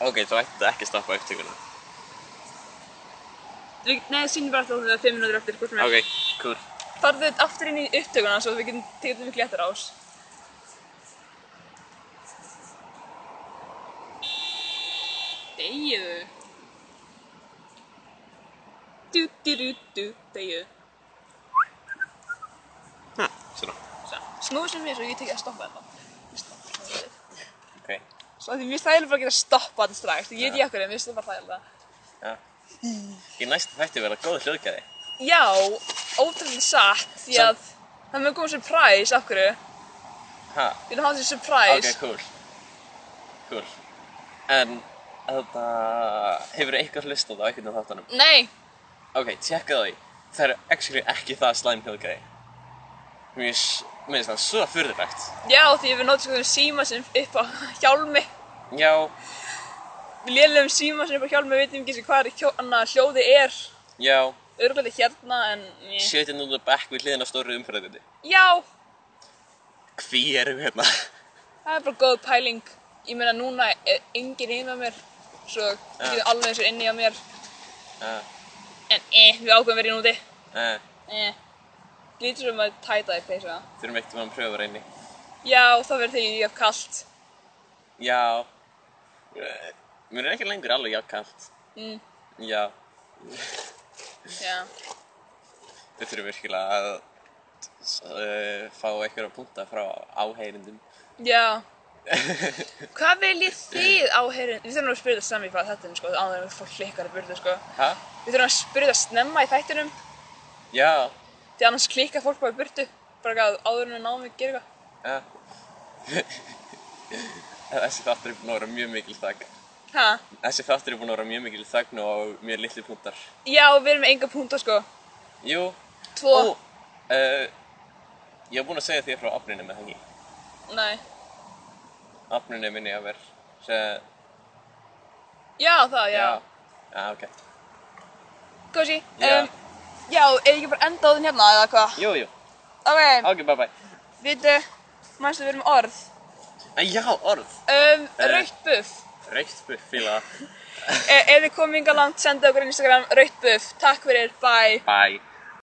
A: Ok, þú ætti ekki að stappa upptökuna.
B: Við, nei, sínum bara alltaf að það er 5 minútur eftir hvort sem er.
A: Ok, cool.
B: Farðu þetta aftur inn í upptökuna svo við getum tegðið mikið léttar ás. Degiðu. Du, du, du, du, degiðu.
A: Ha, svona.
B: Snúðu sem mér svo ég tekið að stoppa þetta.
A: Ok,
B: Svo því mér stæðilega bara að geta að stoppa þetta strax. Ég veit ég okkur, en mér stæðilega bara þægilega.
A: já. Í næstu þætti verða góð hljóðgæði.
B: Já, ótrúlega satt, því
A: Samt-
B: að það mun koma surprise, af hverju?
A: Ha,
B: Við erum hans í surprise.
A: ok, cool. Cool. En, þetta, hefur eitthvað hlustað á einhvern af þáttunum?
B: Nei,
A: Ok, tjekka það í. Það eru actually ekki það slæm hljóðgæði. Mér s- mér finnst það svo furðulegt.
B: já, því við notum svona síma sem upp á hjálmi.
A: Já,
B: Við lélegum síma sem upp á hjálmi, við veitum ekki sem hvað er hjó, annað hljóði er.
A: já,
B: Örgulega hérna, en... eh.
A: setja nú það back við hliðina á stóru umferðarbyndi.
B: Já,
A: Hví erum við hérna?
B: það er bara góð pæling. Ég meina, núna er enginn heima mér, svo við
A: Ja.
B: getum alveg eins og inni á mér.
A: Uh,
B: En eh, við ákveðum verið núti.
A: uh,
B: Eh. Lítur um að tæta í peysa.
A: þurfum eitt um að pröfa að reyni.
B: Já, það verður þegar ég hef kalt.
A: Já, uh, mér er ekki lengur alveg jákalt.
B: Mm.
A: Já,
B: Já.
A: við þurfum virkilega að uh, fá einhverja punta frá áheyrendum.
B: Já. Hvað viljið þið áherin... Við þurfum að spyrja það snemma í hvað þetta er, sko, áður en við fólk klikkar í burtu, sko.
A: Hæ?
B: Við þurfum að spyrja það snemma í þættinum,
A: Já,
B: því annars klikkar fólk bara í burtu. Bara að áður en við náum við að gera eitthvað.
A: já. Eh. Þessi þáttur er búin að vera mjög mikil þakk.
B: Ha?
A: Þessi þáttur er búin að vera mjög mikil þögn og mjög litli punktar.
B: Já, við erum með enga púnta, sko.
A: Jú.
B: Tvo.
A: Ó, uh, ég hef búin að segja þér frá afninu með hengi.
B: Nei.
A: Afninu minni að vera. Se,
B: Já, það, já.
A: Já, ok.
B: Kosi,
A: Já.
B: um, já, er ekki bara enda á þinn hérna, eða hvað?
A: Jú, jú.
B: Ok,
A: Ok, bye bye.
B: vitu, mannstu við erum með orð.
A: Nei, já, orð.
B: Um,
A: Eh.
B: rautt buff.
A: Reykt buff, fíla. það.
B: E ef þið komið yngar langt, senda okkur á Instagram, rautt buff. Takk fyrir, bye.
A: Bye.